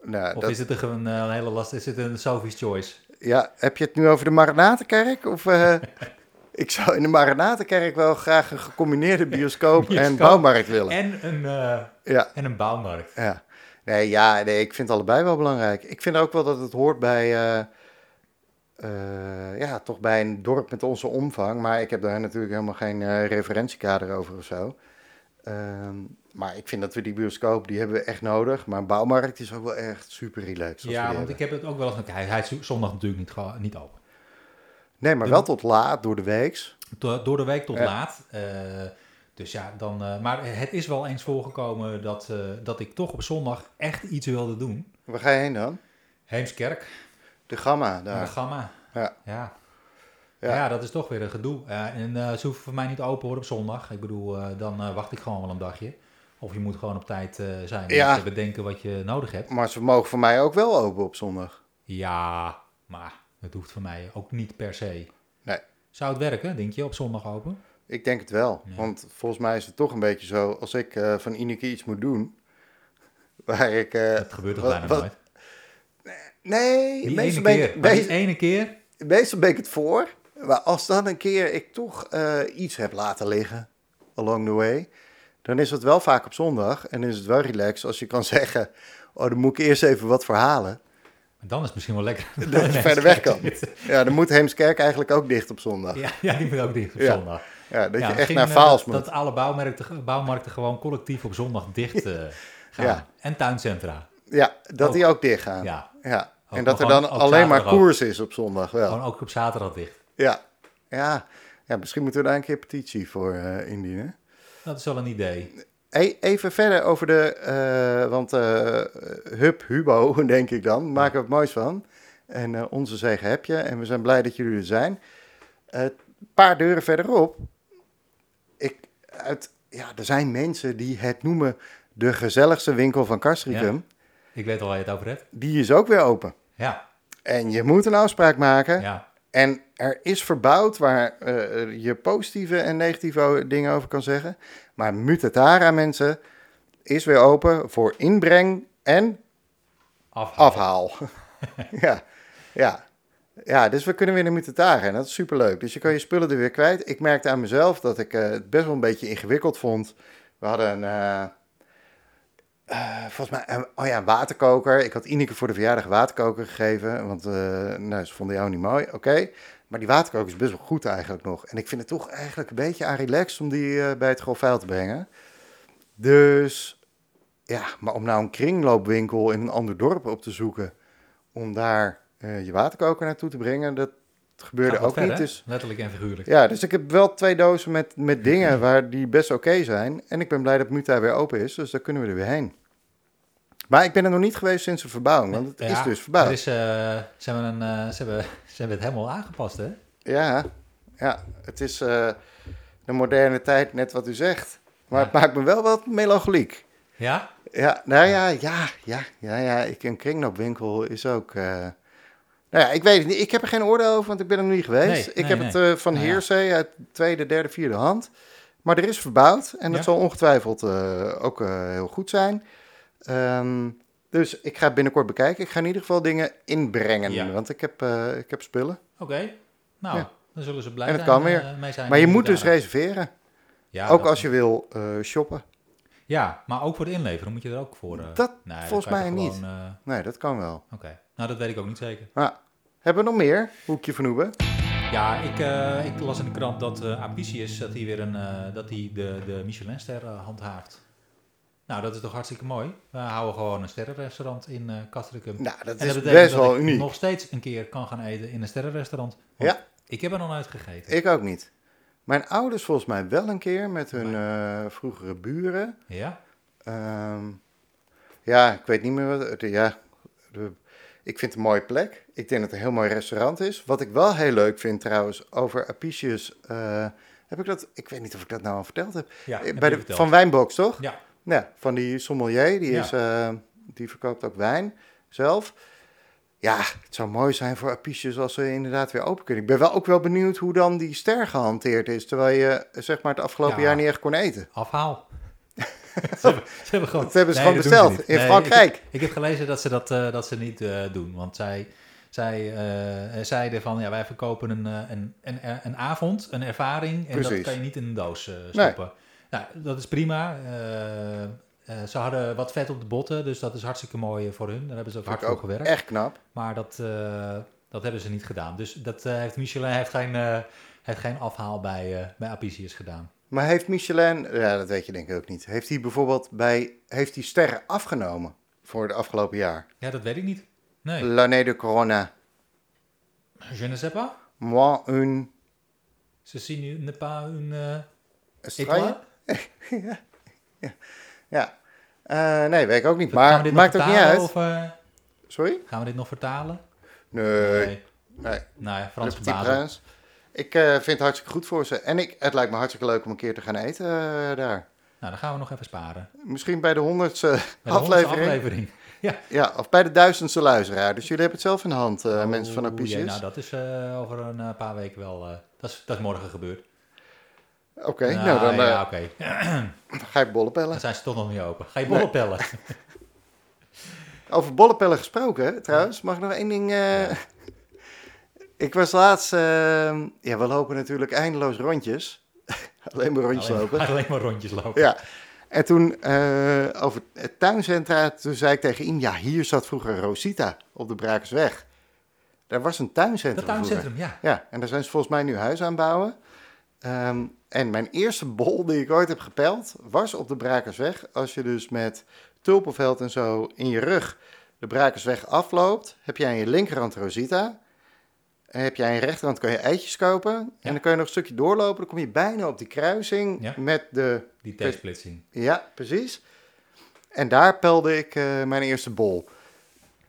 Speaker 3: Nou,
Speaker 2: Of
Speaker 3: dat-
Speaker 2: is het een, gewoon, eh, een hele last? Is het een Sophie's Choice?
Speaker 3: Ja, heb je het nu over de Maranatenkerk? Of, eh, ik zou in de Maranatenkerk wel graag een gecombineerde bioscoop, en
Speaker 2: Bioscoop.
Speaker 3: bouwmarkt willen.
Speaker 2: En een, eh,
Speaker 3: Ja,
Speaker 2: en een bouwmarkt.
Speaker 3: ja. Nee, ja, nee, ik vind het allebei wel belangrijk. Ik vind ook wel dat het hoort bij, eh, eh, ja, toch bij een dorp met onze omvang. Maar ik heb daar natuurlijk helemaal geen eh, referentiekader over of zo. Ehm, maar ik vind dat we die bioscoop, die hebben we echt nodig. Maar een bouwmarkt is ook wel echt super relaxed. als we die
Speaker 2: Ja, want
Speaker 3: hebben.
Speaker 2: ik heb het ook wel eens... Hij, hij is zondag natuurlijk niet, ge- niet open.
Speaker 3: Nee, maar wel tot laat door de weeks.
Speaker 2: Do- door de week tot
Speaker 3: Ja.
Speaker 2: laat. eh, dus ja, dan... eh, maar het is wel eens voorgekomen dat, eh, dat ik toch op zondag echt iets wilde doen.
Speaker 3: Waar ga je heen dan?
Speaker 2: Heemskerk,
Speaker 3: De Gamma
Speaker 2: naar de
Speaker 3: daar.
Speaker 2: Gamma.
Speaker 3: Ja.
Speaker 2: Ja.
Speaker 3: Ja.
Speaker 2: Ja. dat is toch weer een gedoe. Eh, en eh, ze hoeven voor mij niet open hoor op zondag. Ik bedoel, eh, dan eh, wacht ik gewoon wel een dagje. Of je moet gewoon op tijd eh, zijn
Speaker 3: Ja.
Speaker 2: om te bedenken wat je nodig hebt.
Speaker 3: Maar ze mogen voor mij ook wel open op zondag.
Speaker 2: Ja, maar het hoeft voor mij ook niet per se.
Speaker 3: Nee.
Speaker 2: Zou het werken, denk je, op zondag open?
Speaker 3: Ik denk het wel.
Speaker 2: Ja.
Speaker 3: Want volgens mij is het toch een beetje zo, als ik eh, van Ineke iets moet doen, waar ik... eh,
Speaker 2: Dat gebeurt toch
Speaker 3: wat-
Speaker 2: bijna
Speaker 3: wat-
Speaker 2: nooit?
Speaker 3: Nee,
Speaker 2: Die
Speaker 3: meestal
Speaker 2: ene
Speaker 3: ben, ik,
Speaker 2: keer. Maar die e-
Speaker 3: meestal-
Speaker 2: ene keer?
Speaker 3: meestal ben ik het voor. Maar als dan een keer ik toch eh, iets heb laten liggen, along the way, dan is het wel vaak op zondag. En is het wel relaxed als je kan zeggen, oh, dan moet ik eerst even wat verhalen.
Speaker 2: Dan is het misschien wel lekker.
Speaker 3: Dat je
Speaker 2: Nee,
Speaker 3: verder weg kan.
Speaker 2: shit.
Speaker 3: Ja, dan moet Heemskerk eigenlijk ook dicht op zondag. Ja,
Speaker 2: Ja, ja, die moet ook dicht op
Speaker 3: Ja.
Speaker 2: zondag.
Speaker 3: dat
Speaker 2: Ja,
Speaker 3: je echt
Speaker 2: misschien,
Speaker 3: naar
Speaker 2: eh,
Speaker 3: Vaals
Speaker 2: dat,
Speaker 3: moet.
Speaker 2: dat alle bouwmarkten, bouwmarkten gewoon collectief op zondag dicht eh, gaan.
Speaker 3: Ja.
Speaker 2: En tuincentra.
Speaker 3: Ja, dat
Speaker 2: Ook.
Speaker 3: die ook dicht gaan.
Speaker 2: Oh. Ja.
Speaker 3: Ja,
Speaker 2: Ook
Speaker 3: en
Speaker 2: nog
Speaker 3: dat er
Speaker 2: gewoon-
Speaker 3: dan
Speaker 2: ook
Speaker 3: alleen maar
Speaker 2: zaterdag ook. Oh.
Speaker 3: koers is op zondag wel.
Speaker 2: Gewoon ook op zaterdag dicht.
Speaker 3: Ja. Ja. ja, misschien moeten we daar een keer petitie voor eh, indienen.
Speaker 2: Dat is wel een idee.
Speaker 3: Hey, even verder over de, eh, want eh Hub Hubo, denk ik dan, maken we het moois van. En eh, onze zegen heb je en we zijn blij dat jullie er zijn. Eh, Een paar deuren verderop, ik, uit, ja, er zijn mensen die het noemen de gezelligste winkel van Castricum.
Speaker 2: Ik weet al waar je het over hebt.
Speaker 3: Die is ook weer open.
Speaker 2: Ja,
Speaker 3: En je moet een afspraak maken.
Speaker 2: ja.
Speaker 3: En er is verbouwd waar eh, je positieve en negatieve o- dingen over kan zeggen. Maar Mutatara, mensen, is weer open voor inbreng en
Speaker 2: Af.
Speaker 3: afhaal. ja, ja. Ja, dus we kunnen weer naar Mutatara en dat is superleuk. Dus je kan je spullen er weer kwijt. Ik merkte aan mezelf dat ik eh, het best wel een beetje ingewikkeld vond. We hadden een, eh, eh, volgens mij, een- oh ja, een waterkoker. Ik had Ineke voor de verjaardag een waterkoker gegeven, want eh, nou, ze vonden jou niet mooi, oké. Maar die waterkoker is best wel goed eigenlijk nog. En ik vind het toch eigenlijk een beetje aan relaxed om die eh, bij het grofvuil te brengen. Dus ja, maar om nou een kringloopwinkel in een ander dorp op te zoeken, om daar eh, je waterkoker naartoe te brengen, dat gebeurde
Speaker 2: Gaat wel
Speaker 3: ook
Speaker 2: ver,
Speaker 3: niet.
Speaker 2: hè?
Speaker 3: Dus,
Speaker 2: Letterlijk en figuurlijk.
Speaker 3: ja, dus ik heb wel twee dozen met, met dingen waar die best oké zijn. En ik ben blij dat Muta weer open is, dus daar kunnen we er weer heen. Maar ik ben er nog niet geweest sinds de verbouwing, want het is
Speaker 2: Ja,
Speaker 3: dus verbouwd.
Speaker 2: er is, eh, ze, hebben een, eh, ze, hebben, ze hebben het helemaal aangepast, hè?
Speaker 3: Ja, ja, het is eh, de moderne tijd, net wat u zegt. Maar het maakt me wel wat melancholiek.
Speaker 2: Ja?
Speaker 3: Ja, nou ja, ja, ja, ja, ja. Ik, een kringloopwinkel is ook... eh, nou ja, ik weet het niet. Ik heb er geen oordeel over, want ik ben er nog niet geweest.
Speaker 2: Nee,
Speaker 3: ik
Speaker 2: nee,
Speaker 3: heb
Speaker 2: nee.
Speaker 3: het eh, van
Speaker 2: Nou ja.
Speaker 3: Heersee uit tweede, derde, vierde hand. Maar er is verbouwd en dat
Speaker 2: Ja.
Speaker 3: zal ongetwijfeld eh, ook eh, heel goed zijn. Ehm, dus ik ga het binnenkort bekijken. Ik ga in ieder geval dingen inbrengen,
Speaker 2: Ja.
Speaker 3: want ik heb, eh, ik heb spullen.
Speaker 2: Oké. Nou,
Speaker 3: Ja.
Speaker 2: dan zullen ze blij
Speaker 3: En het
Speaker 2: zijn,
Speaker 3: kan weer.
Speaker 2: eh, mee zijn.
Speaker 3: Maar je moet dus
Speaker 2: Ja,
Speaker 3: reserveren.
Speaker 2: ja,
Speaker 3: ook
Speaker 2: dat-
Speaker 3: als je wil eh, shoppen.
Speaker 2: Ja, maar ook voor het inleveren moet je er ook voor... eh,
Speaker 3: Dat
Speaker 2: nee,
Speaker 3: volgens
Speaker 2: kan je
Speaker 3: mij
Speaker 2: toch
Speaker 3: niet.
Speaker 2: gewoon, eh,
Speaker 3: Nee, dat kan wel.
Speaker 2: Oké. Nou, dat weet ik ook niet zeker.
Speaker 3: Maar hebben we nog meer? Hoekje van Hoeben.
Speaker 2: Ja, ik, eh, ik las in de krant dat eh Apicius, dat hij weer een, eh, dat hij de, de Michelinster eh, handhaaft. Nou, dat is toch hartstikke mooi. We houden gewoon een sterrenrestaurant in eh Castricum.
Speaker 3: Nou, dat
Speaker 2: En
Speaker 3: is
Speaker 2: betekent
Speaker 3: best
Speaker 2: dat
Speaker 3: wel
Speaker 2: ik
Speaker 3: uniek.
Speaker 2: nog steeds een keer kan gaan eten in een sterrenrestaurant. Want
Speaker 3: Ja,
Speaker 2: Ik heb er nog nooit gegeten.
Speaker 3: ik ook niet. Mijn ouders volgens mij wel een keer met hun eh, vroegere buren.
Speaker 2: Ja?
Speaker 3: Ehm, ja, ik weet niet meer wat... het- ja, de- ik vind het een mooie plek. Ik denk dat het een heel mooi restaurant is. Wat ik wel heel leuk vind trouwens over Apicius... eh, heb ik dat... Ik weet niet of ik dat nou al verteld heb.
Speaker 2: ja
Speaker 3: Eh,
Speaker 2: heb
Speaker 3: Bij
Speaker 2: je
Speaker 3: de,
Speaker 2: verteld.
Speaker 3: van Wijnbox, toch?
Speaker 2: Ja,
Speaker 3: Nou, van die sommelier, die,
Speaker 2: Ja.
Speaker 3: is, eh, die verkoopt ook wijn zelf. Ja, het zou mooi zijn voor Apicius als ze inderdaad weer open kunnen. Ik ben wel ook wel benieuwd hoe dan die ster gehanteerd is, terwijl je eh, zeg maar het afgelopen
Speaker 2: Ja.
Speaker 3: jaar niet echt kon eten.
Speaker 2: afhaal. ze, hebben, ze hebben gewoon,
Speaker 3: Dat hebben ze
Speaker 2: Nee,
Speaker 3: gewoon
Speaker 2: dat doen ze
Speaker 3: besteld
Speaker 2: niet.
Speaker 3: in
Speaker 2: Nee,
Speaker 3: Frankrijk.
Speaker 2: Ik, ik heb gelezen dat ze dat, eh, dat ze niet eh, doen. Want zij, zij eh, zeiden van, ja, wij verkopen een, eh, een, een, een avond, een ervaring. En
Speaker 3: Precies.
Speaker 2: dat kan je niet in een doos eh, stoppen. Nou, dat is prima. Eh, eh, ze hadden wat vet op de botten, dus dat is hartstikke mooi eh, voor hun. Daar hebben ze ook hard
Speaker 3: Vind ik
Speaker 2: voor
Speaker 3: ook
Speaker 2: gewerkt.
Speaker 3: echt knap.
Speaker 2: Maar dat, eh, dat hebben ze niet gedaan. Dus dat, eh, heeft Michelin heeft geen, eh, heeft geen afhaal bij, eh, bij Apicius gedaan.
Speaker 3: Maar heeft Michelin, ja, dat weet je denk ik ook niet, heeft hij bijvoorbeeld bij, heeft hij sterren afgenomen voor het afgelopen jaar?
Speaker 2: Ja, dat weet ik niet. Nee,
Speaker 3: L'année de corona, Eh.
Speaker 2: je ne sais pas.
Speaker 3: moins une
Speaker 2: Ze zien nu ne pas un eh
Speaker 3: estrella?
Speaker 2: étoile.
Speaker 3: Ja, Eh, nee, weet ik ook niet,
Speaker 2: Gaan we
Speaker 3: maar
Speaker 2: dit
Speaker 3: maakt
Speaker 2: nog
Speaker 3: ook niet
Speaker 2: vertalen
Speaker 3: uit.
Speaker 2: Of, eh,
Speaker 3: Sorry?
Speaker 2: gaan we dit nog vertalen?
Speaker 3: Nee, nee.
Speaker 2: Nou ja, Frans
Speaker 3: De
Speaker 2: van
Speaker 3: Petit
Speaker 2: Bazel.
Speaker 3: Prins. Ik eh, vind het hartstikke goed voor ze. En ik, het lijkt me hartstikke leuk om een keer te gaan eten eh, daar.
Speaker 2: Nou, dan gaan we nog even sparen. Bij
Speaker 3: Misschien bij de honderdste
Speaker 2: de
Speaker 3: aflevering.
Speaker 2: honderdste aflevering.
Speaker 3: Ja, of bij de duizendste luisteraar. Dus jullie hebben het zelf in de hand, eh, mensen van
Speaker 2: Oeh, jee,
Speaker 3: Apicius.
Speaker 2: Nou, dat is eh, over een eh, paar weken wel... eh, dat, is, dat is morgen gebeurd.
Speaker 3: Oké, nou dan eh,
Speaker 2: ja, oké.
Speaker 3: ga ik bollen pellen.
Speaker 2: Dan zijn ze toch nog niet open. Ga je bollen pellen?
Speaker 3: Over bollenpellen gesproken, hè, trouwens. Mag ik nog één ding... eh, ik was laatst... eh, ja, we lopen natuurlijk eindeloos rondjes. Alleen maar rondjes
Speaker 2: Alleen,
Speaker 3: lopen.
Speaker 2: alleen maar rondjes lopen.
Speaker 3: Ja. En toen eh, over het tuincentra, toen zei ik tegen Ian, ja, hier zat vroeger Rosita op de Brakersweg. Daar was een tuincentrum
Speaker 2: Dat tuincentrum, ja.
Speaker 3: vroeger. Ja, en daar zijn ze volgens mij nu huis aan het bouwen. Ehm, en mijn eerste bol die ik ooit heb gepeld, was op de Brakersweg. Als je dus met tulpenveld en zo in je rug de Brakersweg afloopt, heb jij aan je linkerhand Rosita. En heb jij aan je rechterhand kun je eitjes kopen. En dan kun je nog een stukje doorlopen, dan kom je bijna op die kruising
Speaker 2: Ja.
Speaker 3: met de
Speaker 2: Die T-splitsing.
Speaker 3: ja, precies. En daar pelde ik eh, mijn eerste bol.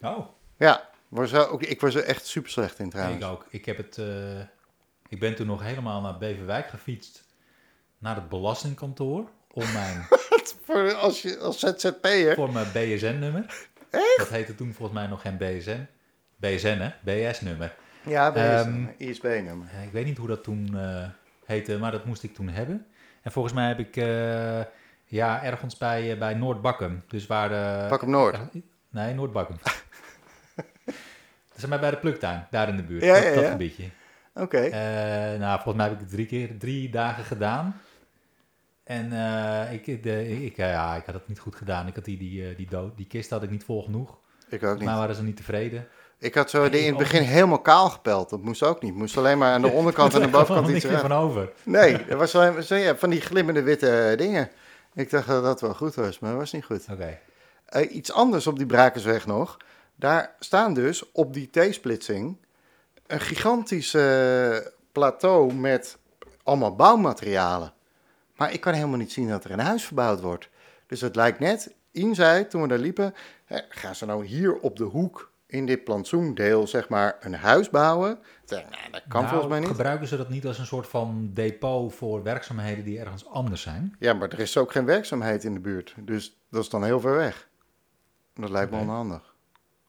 Speaker 2: Oh,
Speaker 3: Ja, was wel ook, ik was er echt super slecht in trouwens.
Speaker 2: ik ook. Ik, heb het, eh, ik ben toen nog helemaal naar Beverwijk gefietst. Naar het belastingkantoor. Om mijn,
Speaker 3: Voor, als, je, als ZZP'er.
Speaker 2: voor mijn BSN-nummer. Dat heette toen volgens mij nog geen BSN. BSN, hè? BS-nummer.
Speaker 3: Ja, bij
Speaker 2: Ehm,
Speaker 3: ISB-nummer.
Speaker 2: Eh, Ik weet niet hoe dat toen eh, heette, maar dat moest ik toen hebben. En volgens mij heb ik eh, ja, ergens bij, eh, bij Noordbakkum. Dus waar de...
Speaker 3: Pak hem Noord.
Speaker 2: Nee, Noordbakkum. dat is bij de pluktuin, daar in de buurt.
Speaker 3: Ja,
Speaker 2: dat,
Speaker 3: ja,
Speaker 2: dat
Speaker 3: ja.
Speaker 2: gebiedje.
Speaker 3: Oké.
Speaker 2: Eh, nou, volgens mij heb ik het drie keer, drie dagen gedaan. En eh, ik, de, ik, eh, ja, ik had het niet goed gedaan. Ik had die, die, eh, die, dood, die kist had ik niet vol genoeg.
Speaker 3: ik ook
Speaker 2: Maar
Speaker 3: niet.
Speaker 2: waren ze niet tevreden.
Speaker 3: Ik had zo
Speaker 2: Nee,
Speaker 3: die
Speaker 2: ik
Speaker 3: in het
Speaker 2: ook
Speaker 3: begin helemaal kaal gepeld. Dat moest ook niet. Moest alleen maar aan de onderkant en de
Speaker 2: Daar kwam
Speaker 3: bovenkant iets
Speaker 2: niks meer
Speaker 3: eruit.
Speaker 2: van over.
Speaker 3: Nee, dat was alleen maar zo, ja, van die glimmende witte eh, dingen. Ik dacht dat dat wel goed was, maar dat was niet goed.
Speaker 2: Oké.
Speaker 3: Eh, iets anders op die Brakersweg nog. Daar staan dus op die T-splitsing een gigantisch eh, plateau met allemaal bouwmaterialen. Maar ik kan helemaal niet zien dat er een huis verbouwd wordt. Dus het lijkt net Ian zei toen we daar liepen, hè, gaan ze nou hier op de hoek in dit plantsoendeel zeg maar een huis bouwen? Ik dacht, nou, dat kan
Speaker 2: Nou,
Speaker 3: volgens mij niet.
Speaker 2: Gebruiken ze dat niet als een soort van depot voor werkzaamheden die ergens anders zijn?
Speaker 3: Ja, maar er is ook geen werkzaamheid in de buurt. Dus dat is dan heel ver weg. Dat lijkt me
Speaker 2: Oké.
Speaker 3: onhandig.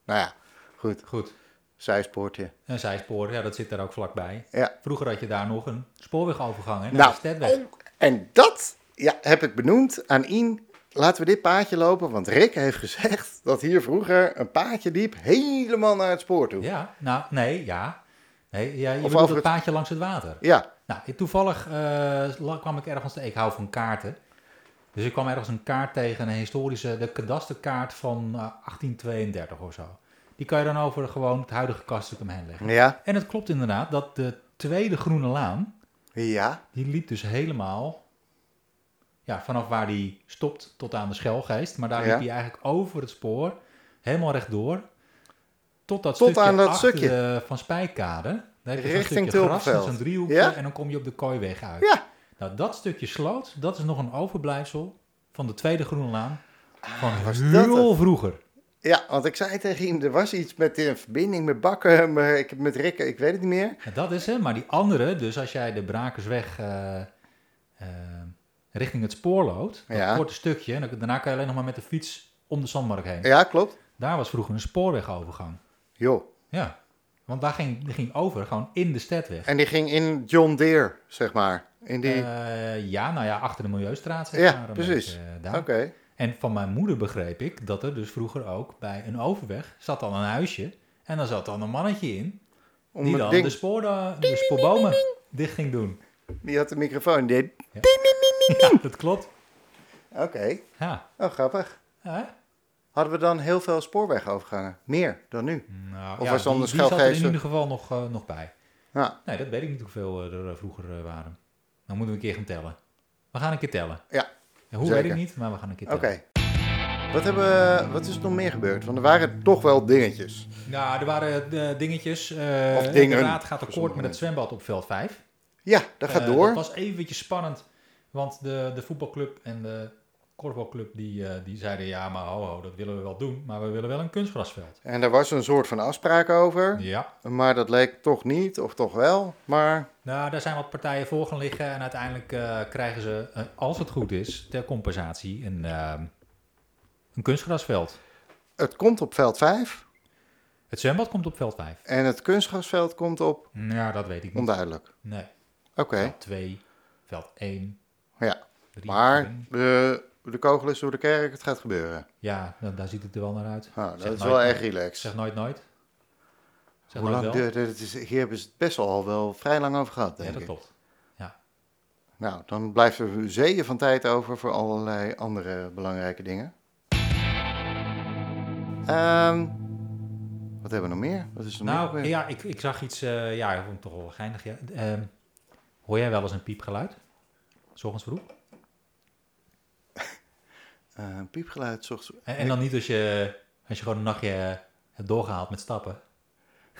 Speaker 3: Nou ja, goed.
Speaker 2: Goed.
Speaker 3: Zijspoortje.
Speaker 2: Een zijspoor, ja, dat zit daar ook vlakbij.
Speaker 3: Ja.
Speaker 2: Vroeger had je daar nog een spoorwegovergang, hè?
Speaker 3: Nou,
Speaker 2: Nou, Stedweg.
Speaker 3: oh, en dat ja, heb ik benoemd aan Ian. Laten we dit paadje lopen, want Rick heeft gezegd dat hier vroeger een paadje liep helemaal naar het spoor toe. Ja,
Speaker 2: Ja, nou, nee, ja. Nee, ja je
Speaker 3: oh. Of
Speaker 2: bedoelt
Speaker 3: over
Speaker 2: het
Speaker 3: het-
Speaker 2: paadje langs het water. Nou, toevallig eh, la- kwam ik ergens te. Ik hou van kaarten. Dus ik kwam ergens een kaart tegen, een historische, de kadasterkaart van eh, 1832 of zo. Die kan je dan over gewoon het huidige kaststuk heen leggen.
Speaker 3: ja,
Speaker 2: En het klopt inderdaad dat de tweede Groene Laan,
Speaker 3: ja,
Speaker 2: die liep dus helemaal ja, vanaf waar die stopt tot aan de Schelgeest. Maar daar
Speaker 3: Ja.
Speaker 2: liep hij eigenlijk over het spoor, helemaal rechtdoor, tot dat
Speaker 3: Tot
Speaker 2: stukje
Speaker 3: aan dat
Speaker 2: achter
Speaker 3: stukje.
Speaker 2: de Van Spijkade. Daar heb je zo'n
Speaker 3: Richting
Speaker 2: stukje gras met
Speaker 3: Tulpenveld.
Speaker 2: zo'n driehoekje
Speaker 3: Ja?
Speaker 2: en dan kom je op de Kooiweg uit.
Speaker 3: ja.
Speaker 2: Nou, dat stukje sloot, dat is nog een overblijfsel van de Tweede Groene Laan van
Speaker 3: Ah, was dat
Speaker 2: heel vroeger.
Speaker 3: Ja, want ik zei tegen hem, er was iets met in verbinding met bakken, maar ik, met Rick, ik weet het niet meer.
Speaker 2: En dat is hem, maar die andere, dus als jij de Brakersweg eh, eh, richting het spoor loopt, dat
Speaker 3: Ja.
Speaker 2: korte stukje, en dan- daarna kan je alleen nog maar met de fiets om de Zandmarkt heen.
Speaker 3: Ja, klopt.
Speaker 2: Daar was vroeger een spoorwegovergang.
Speaker 3: Jo.
Speaker 2: Ja, want daar ging, die ging over, gewoon in de stedweg.
Speaker 3: En die ging in John Deere, zeg maar. In die...
Speaker 2: Eh, ja, nou ja, achter de Milieustraat. Zeg
Speaker 3: Ja,
Speaker 2: maar, een
Speaker 3: precies.
Speaker 2: beetje, eh, daar.
Speaker 3: Oké.
Speaker 2: En van mijn moeder begreep ik dat er dus vroeger ook bij een overweg zat dan een huisje. En dan zat dan een mannetje in
Speaker 3: Om
Speaker 2: die
Speaker 3: het
Speaker 2: dan dus-
Speaker 3: ding-
Speaker 2: de, spoor, eh, de spoorbomen dicht ging doen.
Speaker 3: Die had de microfoon. Die... deed-
Speaker 2: Ja, dat klopt.
Speaker 3: Oké.
Speaker 2: Ja.
Speaker 3: Oh, grappig.
Speaker 2: Hè?
Speaker 3: Hadden we dan heel veel spoorwegovergangen? Meer dan nu.
Speaker 2: Nou,
Speaker 3: Of
Speaker 2: ja,
Speaker 3: was dan
Speaker 2: die,
Speaker 3: de
Speaker 2: die zat er in
Speaker 3: Schelgeesten?
Speaker 2: ieder geval nog, eh, nog bij.
Speaker 3: Ja,
Speaker 2: Nee, dat weet ik niet hoeveel eh, er eh, vroeger eh, waren. Dan moeten we een keer gaan tellen. We gaan een keer tellen.
Speaker 3: ja.
Speaker 2: Ja, hoe
Speaker 3: Zeker.
Speaker 2: weet ik niet, maar we gaan een keer
Speaker 3: oké.
Speaker 2: tellen.
Speaker 3: Wat, hebben, we- wat is er nog meer gebeurd? Want er waren toch wel dingetjes.
Speaker 2: Nou, er waren eh, dingetjes. eh
Speaker 3: Of dingen.
Speaker 2: Inderdaad gaat
Speaker 3: Voor
Speaker 2: akkoord met het
Speaker 3: sommige mensen.
Speaker 2: zwembad op veld 5.
Speaker 3: Ja, dat gaat
Speaker 2: Eh,
Speaker 3: door.
Speaker 2: Dat was eventjes spannend, want de, de voetbalclub en de korfbalclub die, eh, die zeiden ja, maar ho, ho, dat willen we wel doen, maar we willen wel een kunstgrasveld.
Speaker 3: En daar was een soort van afspraak over.
Speaker 2: Ja,
Speaker 3: Maar dat leek toch niet, of toch wel. Maar
Speaker 2: nou, daar zijn wat partijen voor gaan liggen en uiteindelijk eh, krijgen ze, eh, als het goed is, ter compensatie een, ehm, een kunstgrasveld.
Speaker 3: het komt op veld 5.
Speaker 2: Het zwembad komt op veld 5.
Speaker 3: En het kunstgrasveld komt op
Speaker 2: Nou, dat weet ik niet.
Speaker 3: onduidelijk.
Speaker 2: Nee,
Speaker 3: Oké,
Speaker 2: veld 2, veld 1,
Speaker 3: ja.
Speaker 2: 3.
Speaker 3: Maar de, de kogel is door de kerk, het gaat gebeuren.
Speaker 2: Ja, dan, daar ziet het er wel naar uit.
Speaker 3: Nou, dat
Speaker 2: Zeg
Speaker 3: is
Speaker 2: nooit
Speaker 3: wel
Speaker 2: nooit.
Speaker 3: erg relaxed.
Speaker 2: Zeg nooit nooit. Zeg
Speaker 3: Hoe
Speaker 2: nooit
Speaker 3: lang
Speaker 2: wel.
Speaker 3: duurt het? Het is- Hier hebben ze het best wel al wel vrij lang over gehad,
Speaker 2: Ja,
Speaker 3: denk
Speaker 2: dat
Speaker 3: ik.
Speaker 2: klopt.
Speaker 3: Nou, dan blijft er zeeën van tijd over voor allerlei andere belangrijke dingen. Ehm, wat hebben we nog meer? Wat is er nog meer
Speaker 2: Nou,
Speaker 3: gebeurd?
Speaker 2: ja, ik, ik zag iets, eh, ja, ik vond het toch wel geinig. Ja. Ehm, hoor jij wel eens een piepgeluid? 's ochtends vroeg?
Speaker 3: Eh, een piepgeluid zocht.
Speaker 2: En, en dan niet als je, als je gewoon een nachtje eh, hebt doorgehaald met stappen.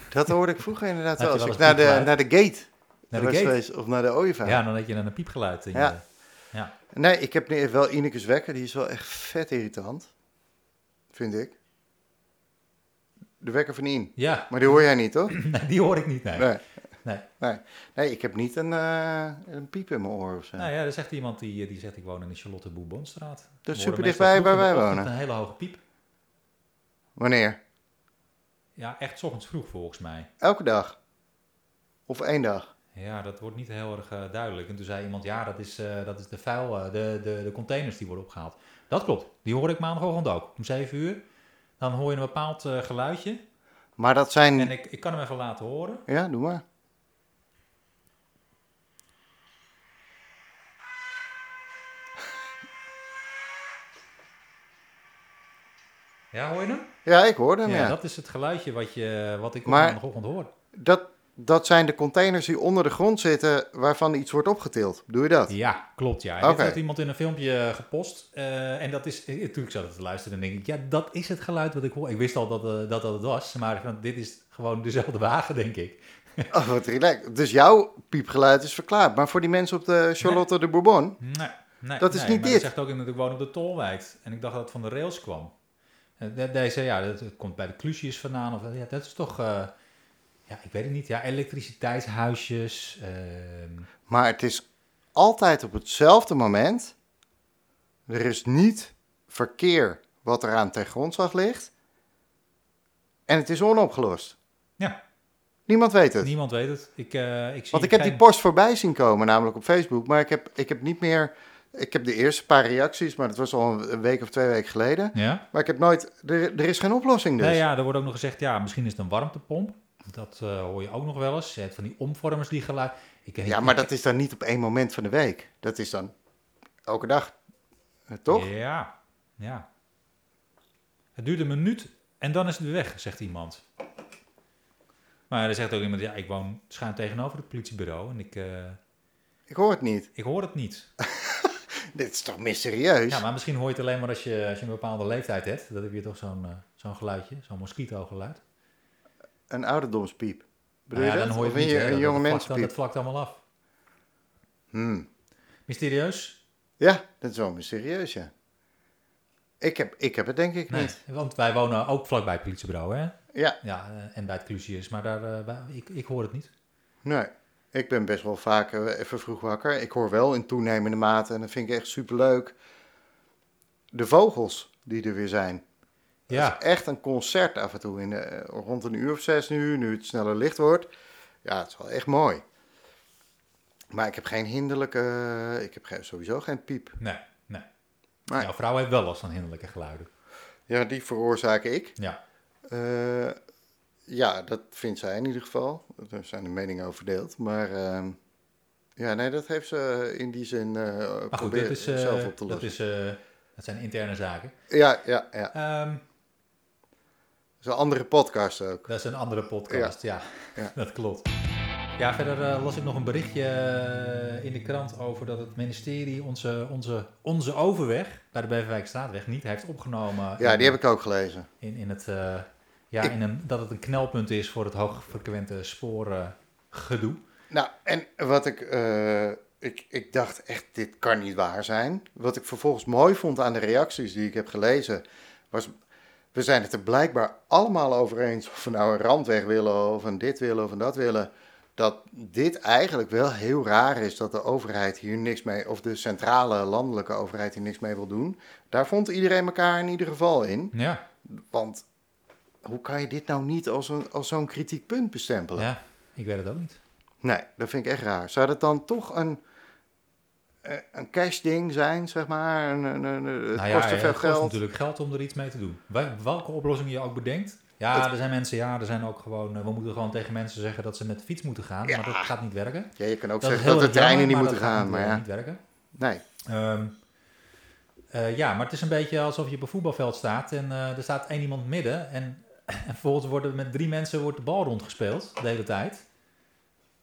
Speaker 3: Dat hoorde ik vroeger inderdaad
Speaker 2: Had je
Speaker 3: wel.
Speaker 2: wel
Speaker 3: Als ik
Speaker 2: eens
Speaker 3: naar de,
Speaker 2: piepgeluid?
Speaker 3: naar de gate
Speaker 2: Naar de
Speaker 3: was
Speaker 2: gate?
Speaker 3: geweest, of naar de
Speaker 2: Ja,
Speaker 3: ooievaar.
Speaker 2: dan had je dan een piepgeluid. In
Speaker 3: Ja.
Speaker 2: je- ja.
Speaker 3: Nee, ik heb nu wel Ineke's wekker. Die is wel echt vet irritant. Vind ik. De wekker van Ien.
Speaker 2: ja,
Speaker 3: Maar die hoor jij niet, toch?
Speaker 2: nee, die hoor ik niet. Nee.
Speaker 3: Nee.
Speaker 2: Nee.
Speaker 3: Nee, nee ik heb niet een, eh, een piep in mijn oor of zo.
Speaker 2: Nou ja, er zegt iemand die, die zegt ik woon in de Charlotte Boubonstraat.
Speaker 3: Dat is
Speaker 2: We horen meestal
Speaker 3: super dichtbij
Speaker 2: vroeg
Speaker 3: waar
Speaker 2: in de
Speaker 3: wij
Speaker 2: ochtend
Speaker 3: wonen.
Speaker 2: Een hele hoge piep.
Speaker 3: Wanneer?
Speaker 2: Ja, echt 's ochtends vroeg volgens mij.
Speaker 3: Elke dag? Of één dag?
Speaker 2: Ja, dat wordt niet heel erg eh, duidelijk. En toen zei iemand, ja, dat is, eh, dat is de vuil, eh, de, de, de containers die worden opgehaald. Dat klopt. Die hoor ik maandagochtend ook. Om 7 uur. Dan hoor je een bepaald eh, geluidje.
Speaker 3: Maar dat zijn...
Speaker 2: En ik, ik kan hem even laten horen.
Speaker 3: Ja, doe maar.
Speaker 2: Ja, hoor je hem?
Speaker 3: Ja, ik hoorde hem,
Speaker 2: Ja,
Speaker 3: ja. Dat...
Speaker 2: dat is het geluidje wat, je, wat ik op
Speaker 3: Maar-
Speaker 2: maandagochtend hoor.
Speaker 3: Dat, zijn de containers die onder de grond zitten... waarvan iets wordt opgetild. Doe je dat?
Speaker 2: Ja, klopt. Ja. En
Speaker 3: Oké.
Speaker 2: Dit heeft iemand in een filmpje gepost. eh, en dat is, eh, toen ik zat te luisteren, dan denk ik, ja, dat is het geluid wat ik hoor. Ik wist al dat eh, dat, dat het was, maar ik dacht, dit is gewoon dezelfde wagen, denk ik.
Speaker 3: Oh, wat relaxed. Dus jouw piepgeluid is verklaard. Maar voor die mensen op de Charlotte de Bourbon...
Speaker 2: Nee, Nee,
Speaker 3: Dat is
Speaker 2: nee,
Speaker 3: niet
Speaker 2: maar
Speaker 3: dit.
Speaker 2: zegt ook inderdaad gewoon op de tolwijk. En ik dacht dat het van de rails kwam. En de- Deze, ja, dat, dat komt bij de klusjes vandaan. Of, ja, dat is toch, eh, ja, ik weet het niet. Ja, elektriciteitshuisjes. ehm,
Speaker 3: Maar het is altijd op hetzelfde moment. Er is niet verkeer wat eraan ten grondslag ligt. En het is onopgelost.
Speaker 2: Ja.
Speaker 3: Niemand weet het.
Speaker 2: niemand weet het. Ik, eh, ik zie
Speaker 3: Want ik heb
Speaker 2: geen-
Speaker 3: die post voorbij zien komen, namelijk op Facebook. Maar ik heb, ik heb niet meer. Ik heb de eerste paar reacties, maar dat was al een- een week of twee weken geleden.
Speaker 2: Ja?
Speaker 3: Maar ik heb nooit. Er, er is geen oplossing dus.
Speaker 2: Nee, ja, er wordt ook nog gezegd, ja, misschien is het een warmtepomp. Dat eh, hoor je ook nog wel eens. Je hebt van die omvormers die geluid... Ik,
Speaker 3: Ja, maar dat is dan niet op één moment van de week. Dat is dan elke dag. Eh, Toch?
Speaker 2: Ja, ja. Het duurt een minuut en dan is het weer weg, zegt iemand. Maar er zegt ook iemand, ja, ik woon schuin tegenover het politiebureau en ik, eh,
Speaker 3: Ik hoor het niet.
Speaker 2: ik hoor het niet.
Speaker 3: Dit is toch mysterieus?
Speaker 2: Ja, maar misschien hoor je het alleen maar als je, als je een bepaalde leeftijd hebt. Dan heb je toch zo'n eh, zo'n geluidje, zo'n mosquito-geluid.
Speaker 3: Een ouderdomspiep. Bedoel
Speaker 2: Nou ja,
Speaker 3: je dat?
Speaker 2: dan hoor je
Speaker 3: of
Speaker 2: het niet.
Speaker 3: een,
Speaker 2: hè.
Speaker 3: een
Speaker 2: Dat-
Speaker 3: jonge
Speaker 2: dat, vlakt dan-
Speaker 3: mensenpiep?
Speaker 2: dat vlakt allemaal af.
Speaker 3: Hmm.
Speaker 2: Mysterieus?
Speaker 3: Ja, dat is wel mysterieus, ja. Ik heb, ik heb het denk ik
Speaker 2: Nee,
Speaker 3: niet.
Speaker 2: want wij wonen ook vlakbij het politiebureau, hè?
Speaker 3: Ja,
Speaker 2: Ja, eh, en bij het Clusius, maar daar, eh, wij- ik, ik hoor het niet.
Speaker 3: nee. Ik ben best wel vaak eh, even vroeg wakker. Ik hoor wel in toenemende mate, en dat vind ik echt superleuk, de vogels die er weer zijn.
Speaker 2: Ja,
Speaker 3: Het is echt een concert af en toe, in, eh, rond een uur of zes nu, nu het sneller licht wordt. Ja, het is wel echt mooi. Maar ik heb geen hinderlijke, ik heb geen- sowieso geen piep.
Speaker 2: nee, nee.
Speaker 3: Nee.
Speaker 2: Jouw vrouw heeft wel last van hinderlijke geluiden.
Speaker 3: Ja, die veroorzaak ik.
Speaker 2: Ja,
Speaker 3: Eh, ja, dat vindt zij in ieder geval. Daar zijn de meningen over verdeeld. Maar ehm, ja, nee, dat heeft ze in die zin eh
Speaker 2: maar goed, dat
Speaker 3: proberen
Speaker 2: is, eh,
Speaker 3: zelf op te
Speaker 2: dat,
Speaker 3: lossen.
Speaker 2: is, eh, dat zijn interne zaken.
Speaker 3: Ja, ja, ja. Dat
Speaker 2: Ehm,
Speaker 3: is een andere podcast ook.
Speaker 2: dat is een andere podcast, ja.
Speaker 3: Ja.
Speaker 2: dat klopt. Ja, verder eh, las ik nog een berichtje eh, in de krant over dat het ministerie onze, onze, onze overweg bij de Beverwijkstraatweg niet heeft opgenomen.
Speaker 3: Ja,
Speaker 2: in-
Speaker 3: die heb ik ook gelezen.
Speaker 2: In, in het, eh, ja,
Speaker 3: Ik-
Speaker 2: in een, dat het een knelpunt is voor het hoogfrequente sporen gedoe.
Speaker 3: Nou, en wat ik, eh, ik, ik dacht echt, dit kan niet waar zijn. Wat ik vervolgens mooi vond aan de reacties die ik heb gelezen, was, we zijn het er blijkbaar allemaal over eens, of we nou een randweg willen, of een dit willen, of een dat willen, dat dit eigenlijk wel heel raar is dat de overheid hier niks mee, of de centrale landelijke overheid hier niks mee wil doen. Daar vond iedereen elkaar in ieder geval in,
Speaker 2: Ja,
Speaker 3: want hoe kan je dit nou niet als, een, als zo'n kritiek punt bestempelen?
Speaker 2: ja, ik weet het ook niet.
Speaker 3: Nee, dat vind ik echt raar. Zou dat dan toch een, eh, een cash-ding zijn, zeg maar? Een, een, een- het
Speaker 2: Nou ja,
Speaker 3: kost te veel
Speaker 2: het kost
Speaker 3: geld.
Speaker 2: natuurlijk geld om er iets mee te doen. Wel- Welke oplossing je ook bedenkt. Ja,
Speaker 3: Het-
Speaker 2: er zijn mensen, ja, er zijn ook gewoon... eh, We moeten gewoon tegen mensen zeggen dat ze met de fiets moeten gaan.
Speaker 3: Ja.
Speaker 2: Maar dat gaat niet werken.
Speaker 3: Ja, je kan ook
Speaker 2: Dat is
Speaker 3: zeggen
Speaker 2: heel
Speaker 3: dat de
Speaker 2: erg jammer,
Speaker 3: treinen niet
Speaker 2: maar
Speaker 3: moeten
Speaker 2: dat eh, gaat
Speaker 3: gaan, maar ja.
Speaker 2: natuurlijk niet werken. Ehm,
Speaker 3: Nee,
Speaker 2: eh, ja, maar het is een beetje alsof je op een voetbalveld staat en eh, er staat één iemand midden. En, en vervolgens worden met drie mensen wordt de bal rondgespeeld de hele tijd.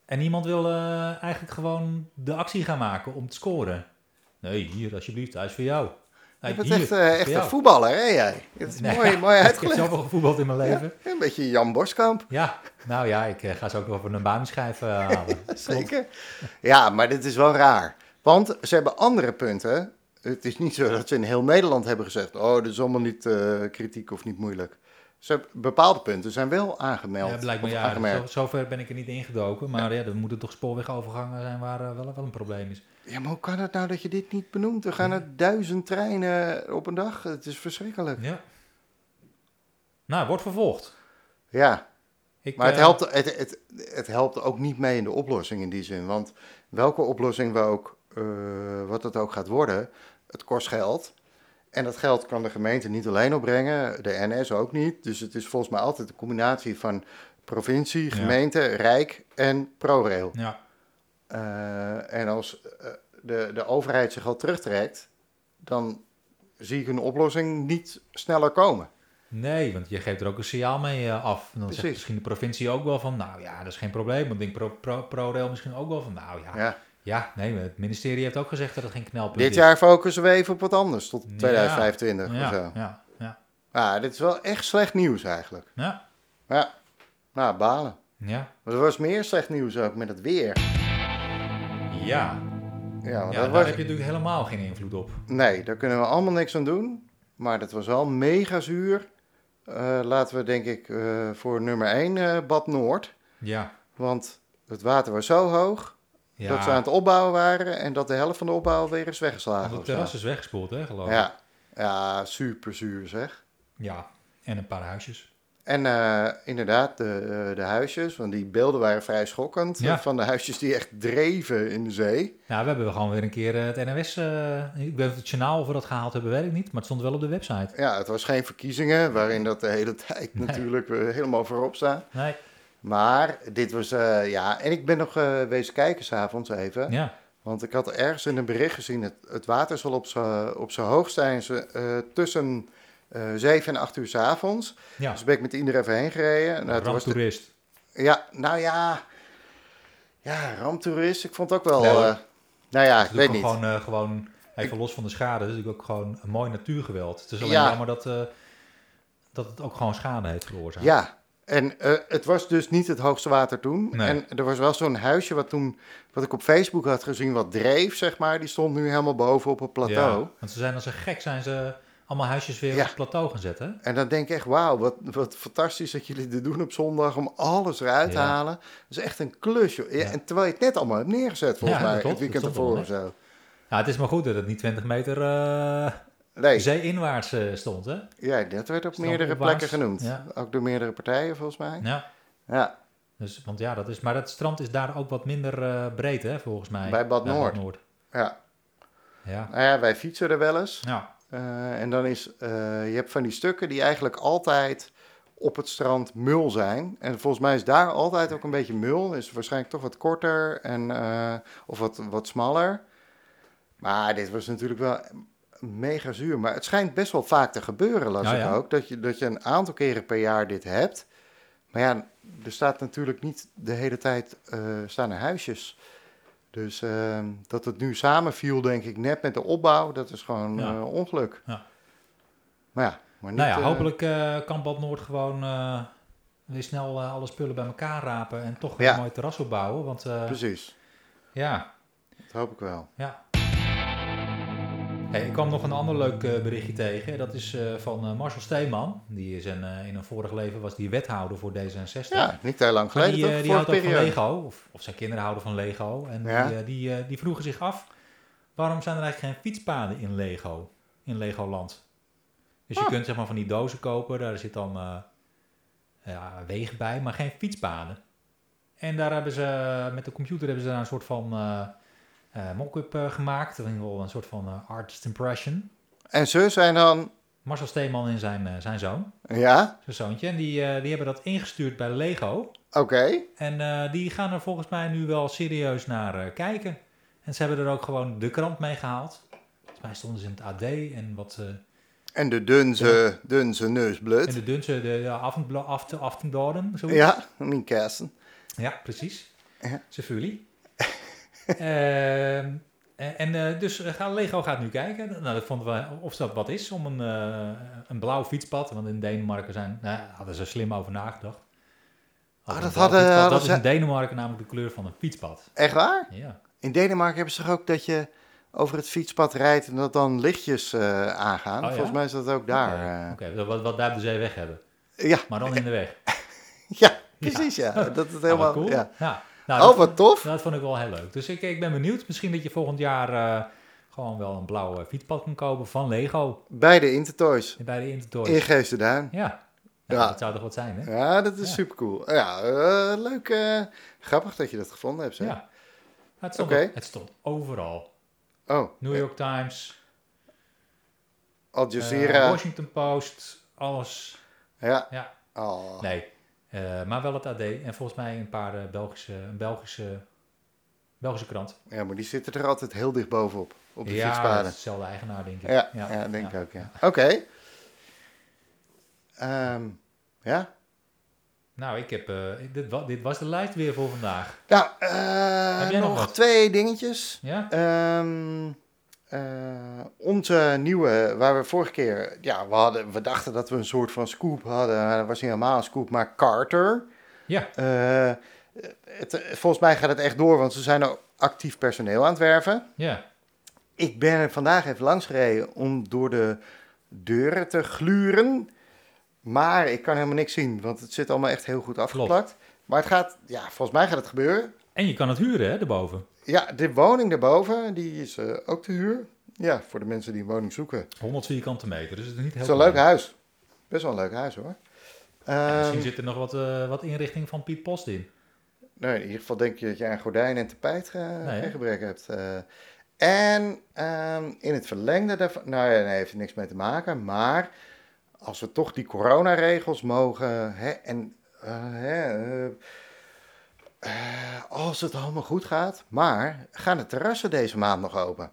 Speaker 2: En niemand wil eh, eigenlijk gewoon de actie gaan maken om te scoren. Nee, hier alsjeblieft, hij is voor jou.
Speaker 3: je
Speaker 2: Nee,
Speaker 3: bent
Speaker 2: nou, hier,
Speaker 3: echt,
Speaker 2: hij
Speaker 3: eh,
Speaker 2: is
Speaker 3: echt
Speaker 2: voor
Speaker 3: een
Speaker 2: jou.
Speaker 3: voetballer, hè jij? Dat is
Speaker 2: Nee,
Speaker 3: mooi, mooi
Speaker 2: Ik heb
Speaker 3: uitgelegd.
Speaker 2: zoveel gevoetbald in mijn
Speaker 3: Ja,
Speaker 2: leven.
Speaker 3: een beetje Jan Boskamp,
Speaker 2: Ja, nou ja, ik eh, ga ze ook nog even een banenschijf eh, halen. Klopt.
Speaker 3: zeker. Ja, maar dit is wel raar. Want ze hebben andere punten. Het is niet zo dat ze in heel Nederland hebben gezegd... oh, dit is allemaal niet eh, kritiek of niet moeilijk. Ze, hebben- bepaalde punten zijn wel aangemeld.
Speaker 2: Ja, blijkbaar
Speaker 3: of
Speaker 2: ja.
Speaker 3: aangemerkt.
Speaker 2: Zo, zover ben ik er niet ingedoken. Maar ja, er moeten toch spoorwegovergangen zijn waar eh, wel, wel een probleem is.
Speaker 3: Ja, maar hoe kan het nou dat je dit niet benoemt? Er gaan er duizend treinen op een dag. Het is verschrikkelijk.
Speaker 2: Ja. Nou, wordt vervolgd.
Speaker 3: Ja,
Speaker 2: Ik,
Speaker 3: maar het
Speaker 2: eh,
Speaker 3: helpt, het, het, het helpt ook niet mee in de oplossing in die zin. Want welke oplossing we ook, eh, wat het ook gaat worden, het kost geld. En dat geld kan de gemeente niet alleen opbrengen, de NS ook niet. Dus het is volgens mij altijd een combinatie van provincie,
Speaker 2: Ja.
Speaker 3: gemeente, rijk en ProRail.
Speaker 2: Ja,
Speaker 3: Eh, en als eh, de, de overheid zich al terugtrekt, dan zie ik een oplossing niet sneller komen.
Speaker 2: nee, want je geeft er ook een signaal mee eh, af. En dan zegt
Speaker 3: Precies.
Speaker 2: misschien de provincie ook wel van, nou ja, dat is geen probleem. Dan denkt Pro- Pro- ProRail misschien ook wel van, nou ja.
Speaker 3: Ja.
Speaker 2: ja. nee, maar het ministerie heeft ook gezegd dat het geen knelpunt
Speaker 3: Dit
Speaker 2: is.
Speaker 3: jaar focussen we even op wat anders, tot
Speaker 2: Ja.
Speaker 3: 2025
Speaker 2: ja,
Speaker 3: of zo.
Speaker 2: Ja, ja,
Speaker 3: Ah, dit is wel echt slecht nieuws eigenlijk.
Speaker 2: ja,
Speaker 3: Ja, nou, balen.
Speaker 2: ja.
Speaker 3: Maar er was meer slecht nieuws ook met het weer.
Speaker 2: ja.
Speaker 3: Ja, want
Speaker 2: Ja,
Speaker 3: Nou, dat
Speaker 2: daar
Speaker 3: was,
Speaker 2: heb je natuurlijk helemaal geen invloed op.
Speaker 3: Nee, daar kunnen we allemaal niks aan doen. Maar dat was wel mega zuur. Eh, laten we denk ik eh, voor nummer 1 Bad Noord.
Speaker 2: Ja.
Speaker 3: Want het water was zo hoog
Speaker 2: ja.
Speaker 3: dat ze aan het opbouwen waren en dat de helft van de opbouw weer is
Speaker 2: Want
Speaker 3: weggeslagen.
Speaker 2: het
Speaker 3: of zo.
Speaker 2: terras is weggespoeld, hè, geloof ik.
Speaker 3: ja. ja, super zuur zeg.
Speaker 2: Ja. En een paar huisjes.
Speaker 3: En eh, inderdaad, de, eh, de huisjes, want die beelden waren vrij schokkend.
Speaker 2: Ja.
Speaker 3: Van de huisjes die echt dreven in de zee.
Speaker 2: Nou, we hebben gewoon weer een keer eh, het NOS... eh, ik weet of het journaal of we dat gehaald hebben, weet ik niet. Maar het stond wel op de website.
Speaker 3: Ja, het was geen verkiezingen, waarin dat de hele tijd natuurlijk eh, helemaal voorop staat.
Speaker 2: Nee.
Speaker 3: Maar dit was, eh, ja, en ik ben nog eh wezen kijken s'avonds even.
Speaker 2: Ja.
Speaker 3: Want ik had ergens in een bericht gezien, het, het water zal op z'n- op zijn hoogst zijn ze, eh, tussen eh 7 en 8 uur s'avonds.
Speaker 2: Ja.
Speaker 3: Dus ben ik met iedereen even heen gereden. Nou,
Speaker 2: Nou,
Speaker 3: het was de-
Speaker 2: toerist.
Speaker 3: ja, nou ja, ja, ramptoerist, ik vond het ook wel,
Speaker 2: Nee, hoor.
Speaker 3: eh, nou ja, ik
Speaker 2: Het is ook
Speaker 3: weet niet.
Speaker 2: Gewoon, eh, gewoon even los van de schade. Het is natuurlijk ook gewoon een mooi natuurgeweld. Het is alleen
Speaker 3: Ja.
Speaker 2: jammer dat, eh, dat het ook gewoon schade heeft veroorzaakt.
Speaker 3: Ja, en eh, het was dus niet het hoogste water toen.
Speaker 2: Nee.
Speaker 3: En er was wel zo'n huisje wat toen, wat ik op Facebook had gezien, wat dreef, zeg maar. Die stond nu helemaal boven op het plateau.
Speaker 2: Ja, want ze zijn als ze gek zijn ze allemaal huisjes weer
Speaker 3: Ja.
Speaker 2: op het plateau gaan zetten.
Speaker 3: En dan denk ik echt, wauw, wat, wat fantastisch dat jullie dit doen op zondag om alles eruit te
Speaker 2: Ja.
Speaker 3: halen. Dat is echt een klus, joh. Ja,
Speaker 2: Ja.
Speaker 3: En terwijl je het net allemaal hebt neergezet, volgens
Speaker 2: Ja, dat
Speaker 3: mij,
Speaker 2: klopt.
Speaker 3: het weekend
Speaker 2: Dat stond
Speaker 3: ervoor
Speaker 2: allemaal
Speaker 3: of zo.
Speaker 2: Nou, het is maar goed dat het niet 20 meter eh
Speaker 3: Nee,
Speaker 2: zee-inwaarts eh, stond, hè?
Speaker 3: ja, dat werd op
Speaker 2: Strand
Speaker 3: meerdere
Speaker 2: opwaarts,
Speaker 3: plekken genoemd.
Speaker 2: ja.
Speaker 3: Ook door meerdere partijen, volgens mij.
Speaker 2: Ja.
Speaker 3: Ja,
Speaker 2: Dus, want ja, dat is, maar het strand is daar ook wat minder eh, breed, hè, volgens mij.
Speaker 3: Bij Bad Noord. ja.
Speaker 2: Ja.
Speaker 3: Nou ja, wij fietsen er wel eens.
Speaker 2: ja.
Speaker 3: Eh, en dan is, eh, je hebt van die stukken die eigenlijk altijd op het strand mul zijn. En volgens mij is daar altijd ook een beetje mul. Is waarschijnlijk toch wat korter en, eh, of wat, wat smaller. Maar dit was natuurlijk wel mega zuur. Maar het schijnt best wel vaak te gebeuren, las
Speaker 2: Ja,
Speaker 3: ik
Speaker 2: ja.
Speaker 3: ook. Dat je, dat je een aantal keren per jaar dit hebt. Maar ja, er staat natuurlijk niet de hele tijd eh, staan er huisjes. Dus eh, dat het nu samenviel, denk ik, net met de opbouw, dat is gewoon
Speaker 2: Ja.
Speaker 3: eh, ongeluk.
Speaker 2: Ja.
Speaker 3: Maar ja, maar niet,
Speaker 2: Nou ja,
Speaker 3: eh,
Speaker 2: hopelijk eh, kan Bad Noord gewoon eh, weer snel eh, alle spullen bij elkaar rapen en toch weer
Speaker 3: Ja.
Speaker 2: een mooi terras opbouwen. Want eh,
Speaker 3: precies,
Speaker 2: ja,
Speaker 3: dat hoop ik wel.
Speaker 2: ja. Hey, ik kwam nog een ander leuk eh, berichtje tegen. Dat is eh, van eh, Marcel Steeman. Die is een, eh, in een vorig leven was die wethouder voor D66.
Speaker 3: Ja, niet heel lang
Speaker 2: Maar
Speaker 3: geleden,
Speaker 2: die, eh, die
Speaker 3: toch? Vorige
Speaker 2: houdt ook van
Speaker 3: periode.
Speaker 2: Lego, of, of zijn kinderen houden van Lego. En
Speaker 3: Ja.
Speaker 2: die, eh, die, eh, die vroegen zich af, waarom zijn er eigenlijk geen fietspaden in Lego, in Legoland? Dus je
Speaker 3: Ah.
Speaker 2: kunt zeg maar van die dozen kopen, daar zit dan eh, ja, wegen bij, maar geen fietspaden. En daar hebben ze, met de computer hebben ze daar een soort van eh eh, mock-up eh, gemaakt. Of in ieder geval een soort van eh, artist impression.
Speaker 3: En ze zijn dan,
Speaker 2: Marcel Steeman en zijn, eh, zijn zoon,
Speaker 3: ja,
Speaker 2: zijn zoontje. En die, eh, die hebben dat ingestuurd bij Lego.
Speaker 3: oké.
Speaker 2: En eh, die gaan er volgens mij nu wel serieus naar eh, kijken. En ze hebben er ook gewoon de krant mee gehaald. Volgens mij stonden ze in het AD en wat... eh,
Speaker 3: En de dunze, dunze
Speaker 2: in
Speaker 3: neusblut.
Speaker 2: de Dunse, de, de Aftenbla- Afte- Aftenbladen, zoiets.
Speaker 3: Ja, niet kersen.
Speaker 2: Ja, precies.
Speaker 3: Ja.
Speaker 2: Cefuli. Ehm, en en eh, dus eh, ga- Lego gaat nu kijken nou, dat vonden we, of dat wat is om een, eh, een blauw fietspad. Want in Denemarken zijn, nou, ja, hadden ze slim over nagedacht. Hadden
Speaker 3: Ah, dat
Speaker 2: een blauw
Speaker 3: hadden-
Speaker 2: fietspad.
Speaker 3: hadden
Speaker 2: dat is
Speaker 3: ze-
Speaker 2: in Denemarken namelijk de kleur van een fietspad.
Speaker 3: Echt waar?
Speaker 2: Ja.
Speaker 3: In Denemarken hebben ze toch ook dat je over het fietspad rijdt en dat dan lichtjes eh, aangaan.
Speaker 2: Oh, ja?
Speaker 3: Volgens mij is dat ook daar.
Speaker 2: Oké, Oké, Dus wat, wat daar op de zee weg hebben.
Speaker 3: eh. Ja,
Speaker 2: Maar dan in de weg.
Speaker 3: ja, precies ja. Dat het helemaal,
Speaker 2: Ah, wat cool.
Speaker 3: ja.
Speaker 2: Ja. Nou, dat,
Speaker 3: Oh, wat tof.
Speaker 2: dat vond ik wel heel leuk. Dus ik, ik ben benieuwd. Misschien dat je volgend jaar eh, gewoon wel een blauw eh, fietspad kan kopen van Lego
Speaker 3: Bij de Intertoys.
Speaker 2: bij de Intertoys.
Speaker 3: In Geesterdaan.
Speaker 2: Ja.
Speaker 3: Ja.
Speaker 2: Nou, Dat zou toch wat zijn, hè?
Speaker 3: Ja, dat is
Speaker 2: Ja.
Speaker 3: super cool. Ja, eh, leuk. eh, grappig dat je dat gevonden hebt. Zeg.
Speaker 2: Ja. Maar het, stond,
Speaker 3: Oké.
Speaker 2: het stond overal.
Speaker 3: Oh,
Speaker 2: New York Times,
Speaker 3: Al
Speaker 2: eh,
Speaker 3: Jazeera.
Speaker 2: Washington Post, alles.
Speaker 3: ja.
Speaker 2: Ja.
Speaker 3: Oh.
Speaker 2: Nee, eh, maar wel het AD en volgens mij een paar eh, Belgische, een Belgische, Belgische krant.
Speaker 3: ja, maar die zitten er altijd heel dicht bovenop. Op de
Speaker 2: ja, dat is
Speaker 3: fietspaden.
Speaker 2: dezelfde eigenaar, denk ik.
Speaker 3: Ja, ja, denk ik ook, ja. Oké. Ehm, ja.
Speaker 2: Nou, ik heb, eh, dit, wa- dit was de lijst weer voor vandaag.
Speaker 3: Nou,
Speaker 2: Heb
Speaker 3: eh,
Speaker 2: jij nog
Speaker 3: nog
Speaker 2: wat?
Speaker 3: twee dingetjes.
Speaker 2: Ja?
Speaker 3: Ehm, eh, onze nieuwe, waar we vorige keer, ja, we, hadden, we dachten dat we een soort van scoop hadden. maar Dat was niet helemaal een scoop, maar Carter.
Speaker 2: Ja.
Speaker 3: Eh, het, volgens mij gaat het echt door, want ze zijn er actief personeel aan het werven.
Speaker 2: Ja.
Speaker 3: Ik ben er vandaag even langs gereden om door de deuren te gluren. Maar ik kan helemaal niks zien, want het zit allemaal echt heel goed afgeplakt. Maar het gaat, ja, volgens mij gaat het gebeuren.
Speaker 2: En je kan het huren, hè, daarboven.
Speaker 3: Ja, de woning daarboven, die is eh, ook te huur. Ja, voor de mensen die een woning zoeken.
Speaker 2: 100 vierkante meter, dus het is niet heel
Speaker 3: Het is een
Speaker 2: klein.
Speaker 3: leuk huis. Best wel een leuk huis hoor.
Speaker 2: En
Speaker 3: Ehm
Speaker 2: Misschien zit er nog wat, eh, wat inrichting van Piet Post in.
Speaker 3: Nou, in ieder geval denk je dat je aan gordijnen en tapijt eh,
Speaker 2: hè?
Speaker 3: geen gebrek hebt. eh. en ehm, in het verlengde daarvan, nou ja, daar heeft het niks mee te maken, maar als we toch die coronaregels mogen hè, en eh, hè, eh, eh, als het allemaal goed gaat, maar gaan de terrassen deze maand nog open?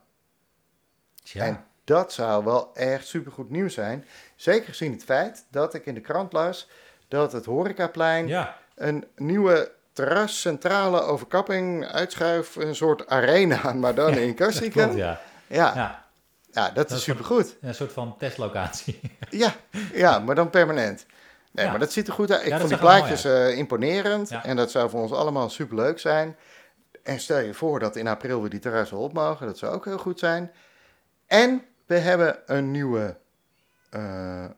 Speaker 2: Tja.
Speaker 3: En dat zou wel echt supergoed nieuws zijn. Zeker gezien het feit dat ik in de krant las dat het horecaplein
Speaker 2: ja.
Speaker 3: een nieuwe terrascentrale overkapping, uitschuif, een soort arena, maar dan in Kastrikum.
Speaker 2: Klopt,
Speaker 3: ja.
Speaker 2: ja.
Speaker 3: Ja,
Speaker 2: ja.
Speaker 3: dat
Speaker 2: Dat
Speaker 3: is
Speaker 2: is van-
Speaker 3: supergoed.
Speaker 2: Een soort van testlocatie.
Speaker 3: Ja, ja, maar dan permanent. Nee,
Speaker 2: Ja.
Speaker 3: maar dat ziet er goed uit. Ik
Speaker 2: Ja, dat
Speaker 3: vond die
Speaker 2: zag er mooi
Speaker 3: plaatjes eh, imponerend
Speaker 2: Ja.
Speaker 3: en dat zou voor ons allemaal superleuk zijn. En stel je voor dat in april we die terrassen op mogen, dat zou ook heel goed zijn. En we hebben een nieuwe, eh, eh,